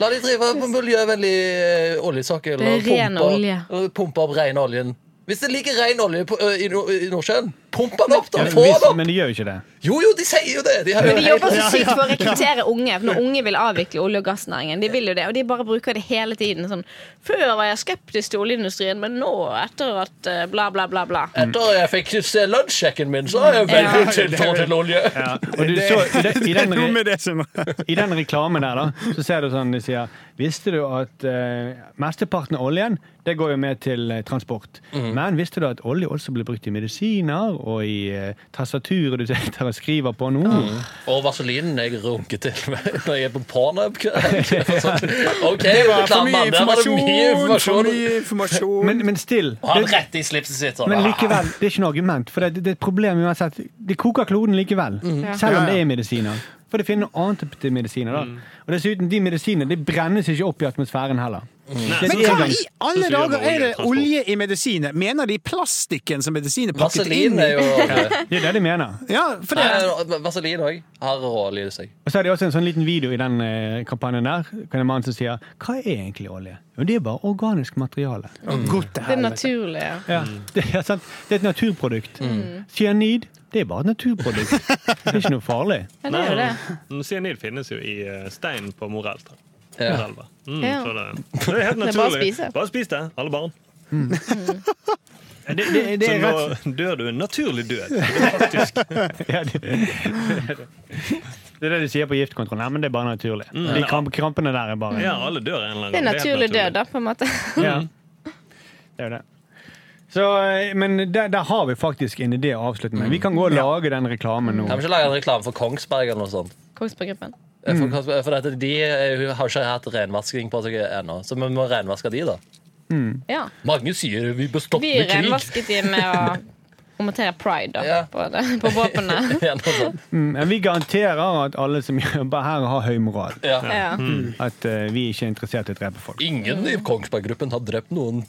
La de drive på miljøvennlig eh, oljesokkel Det er og ren pumpe, olje. og pumpe opp ren oljen. Hvis det ligger ren olje på, ø, i, Nor- i Nordsjøen, pump den opp, da! Men, Få hvis, den opp! men de gjør jo ikke det. Jo, jo, de sier jo det! De har jo De helt jobber så sykt for å rekruttere unge, for når unge vil avvikle olje- og gassnæringen. De vil jo det, og de bare bruker det hele tiden. Sånn, Før var jeg skeptisk til oljeindustrien, men nå, etter at eh, bla, bla, bla, bla. Etter jeg fikk se lønnssjekken min, så er jeg veldig Ja. tiltro til olje. Og du, så, i, den, i, den, Noe re- med det som I den reklamen der, da, så ser du sånn de sier Visste du at eh, mesteparten av oljen det går jo med til eh, transport? Men visste du at olje også blir brukt i medisiner og i eh, tastaturet du sitter og skriver på nå? Og vaselinen jeg runker til med når jeg er på pornhub. Sånn, OK, reklamen. Der var det mye For informasjon. mye informasjon. Men, men still. Og han det- rett i slipset sitt. Sånn. Men likevel, det er ikke noe argument. For det, det er et problem uansett. Det koker kloden likevel. Mhm. Selv om det er medisiner. For det finner noe annet til medisiner. da. Mhm. Og dessuten, de medisinene de brennes ikke opp i atmosfæren heller. Mhm. Det er Men hva engangs- i alle Sånn som vi gjør med dager er det oljetransport. olje i medisiner? Mener de plastikken som medisiner pakket inn Vaselin i? er jo Det er det de mener. Ja, for det, Nei, Vaselin òg har råolje i seg. Og så er det også en sånn liten video i den eh, kampanjen der. Kan en mann som sier 'Hva er egentlig olje?' Jo, det er bare organisk materiale. Godt Det er til helvete. naturlig. Ja. Ja, det, er sant. det er et naturprodukt. Mhm. Cyanid, det er bare et naturprodukt. Det er ikke noe farlig. Ja, det er jo det. Cyanid finnes jo i eh, stein på Morelta. Ja. Morelva. Mm, Ja. så det, det er helt Det er bare å naturlig. spise. Bare spis det, alle barn. Mm. Det, det, det Så er rett nå dør du en naturlig død. Faktisk. Ja, det, det er det de sier på giftkontrollen. Nei, men det er bare naturlig. De kramp, krampene der er bare Ja, alle dør en eller annen Det er gang. helt naturlig død, da, på en måte. ja. Det er jo det. Så, eh, men der, der har vi faktisk en idé å avslutte med. Vi kan gå og lage den reklamen nå. Kan vi ikke lage en reklame for Kongsberg eller noe sånt? Kongsberg-gruppen. Eh, For, Kongsberg- for dette, de eh, har ikke hatt renvasking på seg ennå, så vi må renvaske de, da. Ja. Mange sier vi bør stoppe Vi krig. renvasket de med å promotere pride da, Ja. på, det, på våpenet. Ja, altså, noe sånt. Mm, Men vi garanterer at alle som jobber her, har høy moral. Ja. Ja. At eh, vi ikke er interessert i å drepe folk. Ingen i Kongsberg-gruppen har drept noen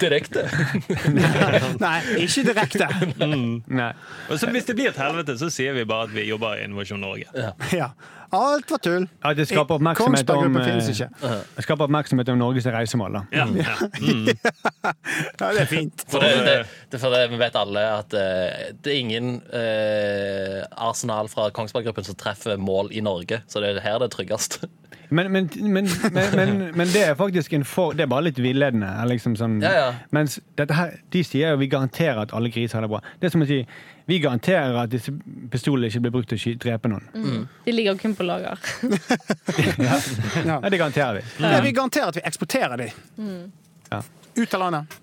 direkte. Nei, ikke direkte. Nei. Og så hvis det blir et helvete, så sier vi bare at vi jobber i Innovasjon Norge. Ja. Alt var tull. At det skaper oppmerksomhet om, Kongsberg-gruppen finnes ikke. eh, det skaper oppmerksomhet om Norges reisemål. da. Ja, ja. Ja, det er fint. For det, eh, det, det, for det, vi vet alle at eh, det er ingen eh, Arsenal fra Kongsberg-gruppen som treffer mål i Norge, så det er her det er tryggest. Men, men, men, men, men, men det er faktisk en for... Det er bare litt villedende. eller Liksom sånn, Ja, ja. Mens dette her, de sier jo vi garanterer at alle griser har det bra. Det er som å si vi garanterer at disse pistolene ikke blir brukt til å sky- drepe noen. De ligger kun på lager. Ja, det garanterer vi. Nei, vi garanterer at vi eksporterer de Mm. Ja. ut av landet.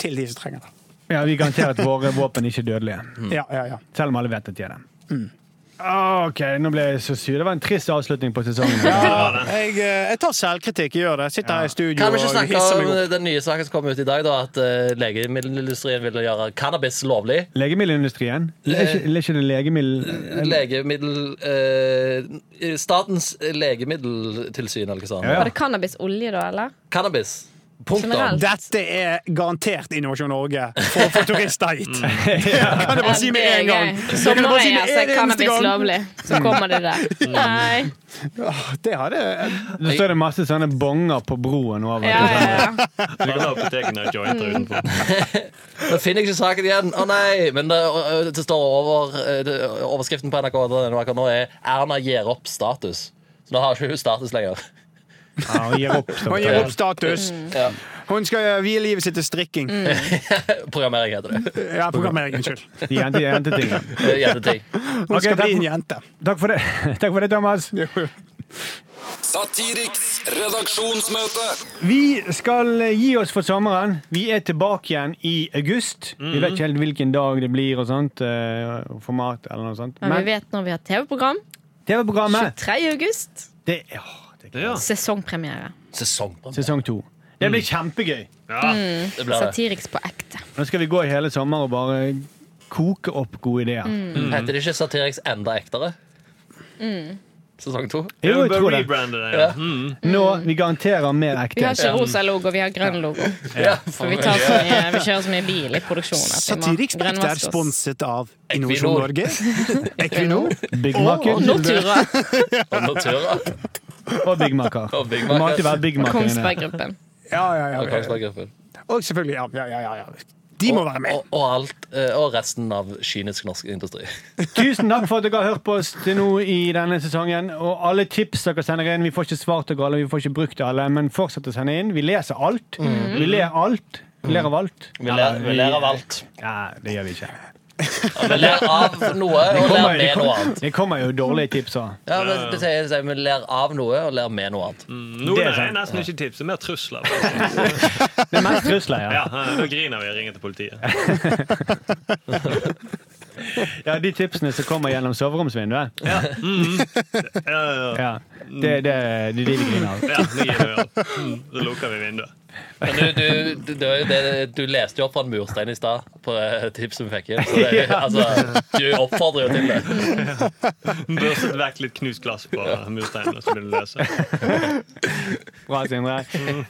Til de som trenger det. ja, Vi garanterer at våre våpen ikke er Mm. dødelige. Ja, ja, ja. Selv om alle vet at de er det. Ah, OK, nå ble jeg så sur. Det var en trist avslutning på sesongen. Jeg, eh, jeg tar selvkritikk, jeg gjør det. Sitter her i studio Kan vi og ikke snakke hisser meg opp. om eh, den nye saken som kom ut i dag, da, at eh, legemiddelindustrien ville gjøre cannabis lovlig? Legemiddelindustrien? Le- Er ikke- er ikke det legemiddel... Legemiddel eh, Statens legemiddeltilsyn, eller hva sånt. Ja, Var ja. det cannabisolje, da? eller? Cannabis. Punktum. Generelt. Dette er garantert Innovasjon Norge for å få turister hit. Det kan jeg bare si med Mm. Ja, en det er gang. gøy. Det kan jeg bare si med Sommerøya, så er altså, en eneste cannabis gang. lovlig. Så kommer det der. Nei. Åh, Det hadde Da står det masse sånne bonger på broen over. Ja, ja, ja. Alle apotekene har Mm. jointer utenfor. Da finner jeg ikke saken igjen. Å nei! Men det, ø, ø, det står over ø, det, overskriften på NRK akkurat nå er 'Erna gir opp status'. Så nå har ikke hun status lenger. Ja, og gir opp. sånn. Hun gir opp status. Mm. Ja. Hun skal eh, vie livet sitt til strikking. Programmering heter det. Ja, programmering, unnskyld. De jente, jentetingene. Eh, Jenteting. Hun skal Ok, bli en takk- jente. Takk for det, Takk for det Thomas. Satiriks redaksjonsmøte. Vi skal eh, gi oss for sommeren. Vi er tilbake igjen i august. Mhm. Vi vet ikke helt hvilken dag det blir og sånt. eh, Format eller noe sånt. Men vi Men vet når vi har TV-program. TV-programmet 23. august. det, er- åh, det er Ja. Sesongpremiere. Sesong. sesong to. Det blir Mm. kjempegøy. Mm. Det blir det. Satiriks på ekte. Nå skal vi gå i hele sommer og bare koke opp gode ideer. Mm. Mm. Heter det ikke Satiriks enda ektere? Sesong to? Jo, jeg tror Bare det. rebrande det. Mm. Nå, vi garanterer mer Vi har ekte. ikke rosa logo, vi har grønn logo. Ja. For vi, tar så mye, vi kjører så mye bil i produksjonen. at vi må Satiriks Ekte er grønnvaske oss. sponset av Innovasjon Equinor. Norge, Equinor Big og Mac-en Nortura Og Natura. og Big Mac-er. Og Big Det må alltid være Mac. Big Mac-er inne. Kongsberg-gruppen. Ja, ja, ja, Og ja. Kongsberg Gruppen. Og selvfølgelig, ja, ja, ja, ja. De må være med. Og, og, alt, eh, og resten av kynisk norsk industri. Tusen takk for at dere har hørt på oss til nå i denne sesongen. Og alle tips dere sender inn. Vi får ikke svart dere alle, vi får ikke brukt alle, men fortsett å sende inn. Vi leser alt. Vi ler alt. Vi ler av alt. Mhm. Vi ler, vi ler av alt. Ja, det gjør vi ikke. Vi ler av noe og ler Kommer- det, med noe kommer, annet. det kommer jo dårlige tips òg. Ja, Mm. men det sier, sier Vi ler av noe og ler med noe annet. Noen Det er er, sant. nesten ikke tips, det er mer trusler. Det er mest trusler, ja. Ja, eh, Nå griner vi og ringer til politiet. ja. De tipsene som kommer gjennom soveromsvinduet. Ja, ja, ja. Ja. Det, det, det er de vi griner av. Ja, nå gir vi oss. Mm, Da lukker vi vinduet. Men du, du, du, det var jo det- du leste jo opp fra en murstein i stad, på eh, tips som vi fikk inn. Så det, altså, du oppfordrer jo til det. Børstet vekk litt knust glass på mursteinene, så blir det løse. Bra, Sindre.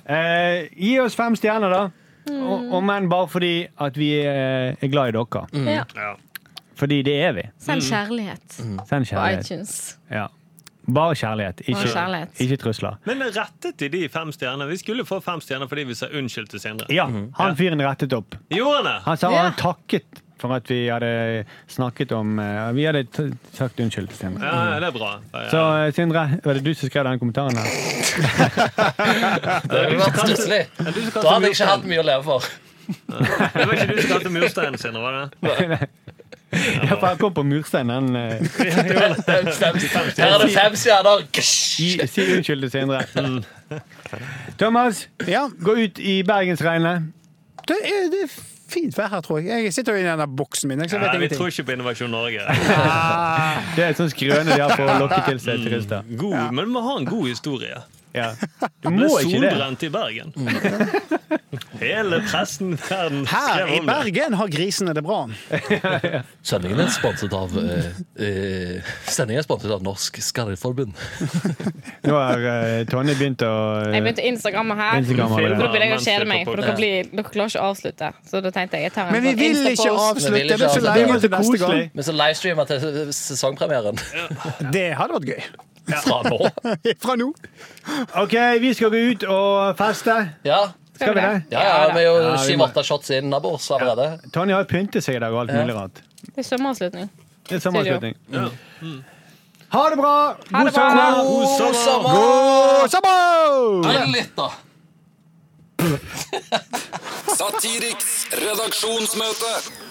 Eh, gi oss fem stjerner, da. Mm. Og, og men bare fordi at vi er, er glad i dere. Ja. Ja. Fordi det er vi. Send kjærlighet Send på kjærlighet. iTunes. Ja. Bare kjærlighet, ikke, Bare kjærlighet. ikke trusler. Men rettet de de fem stjernene? Vi skulle få fem stjerner fordi vi sa unnskyld til Sindre. Mhm. Ja, han fyren rettet opp. Gjorde han det? Han sa Ja. han takket for at vi hadde snakket om eh, Vi hadde t sagt unnskyld til Sindre. Ja, det er bra. Ja, Så ja. eh, Sindre, var det du som skrev den kommentaren? her? Det hadde vært stusslig. Du Da som kalte hadde jeg ikke hatt murstein. mye å leve for. Det var ikke du som kalte mursteinen, Sindre? var det? Ja, for han kom på murstein. Han eh, Fem stjerner. Her er det fem stjerner. gi- Gsh! si unnskyld til Sindre. Mm. Thomas, Ja, gå ut i bergensregnet. det er, det er fint vær her, tror jeg. Jeg sitter jo i den der boksen min. Så jeg Nei, vet vi tror ingenting. ikke på Innovasjon Norge. Det er et sånt skrøne de har for å lokke til seg turister. God, Men vi må ha en god historie. Ja. Du må Ble ikke det. solbrent i Bergen. Hele pressen i verden Her skrev i om det. Bergen har grisene det bra. Sendingen er sponset av eh, eh, Sendingen er sponset av Norsk Skarreforbund. Nå har eh, Tonje begynt å eh, Jeg begynte å Instagramme her. Instagram For da allerede. begynner jeg å Mens vi kjede er meg, på for podcast. dere, blir, dere klarer ikke å avslutte. Så da tenkte jeg jeg tar en Men vi sånn vil ikke Insta-post. Vi avslutte. vil ikke Jeg blir avslutte. så lei Det meg til var neste så gang. koselig. Men så livestreamer til sesongpremieren Det hadde vært gøy. fra nå. Fra nå. OK, vi skal gå ut og feste. Ja, Skal vi det? ja, ja vi er Ja, jo vi syv-åtte shots innabords allerede. Tonje har pyntet seg i dag og alt mulig rart. Det er sommeravslutning. Det er sommeravslutning. Ja. Ha det bra! Ha det bra! sommer! God sommer! God sommer! Grill litt, da. Satiriks redaksjonsmøte.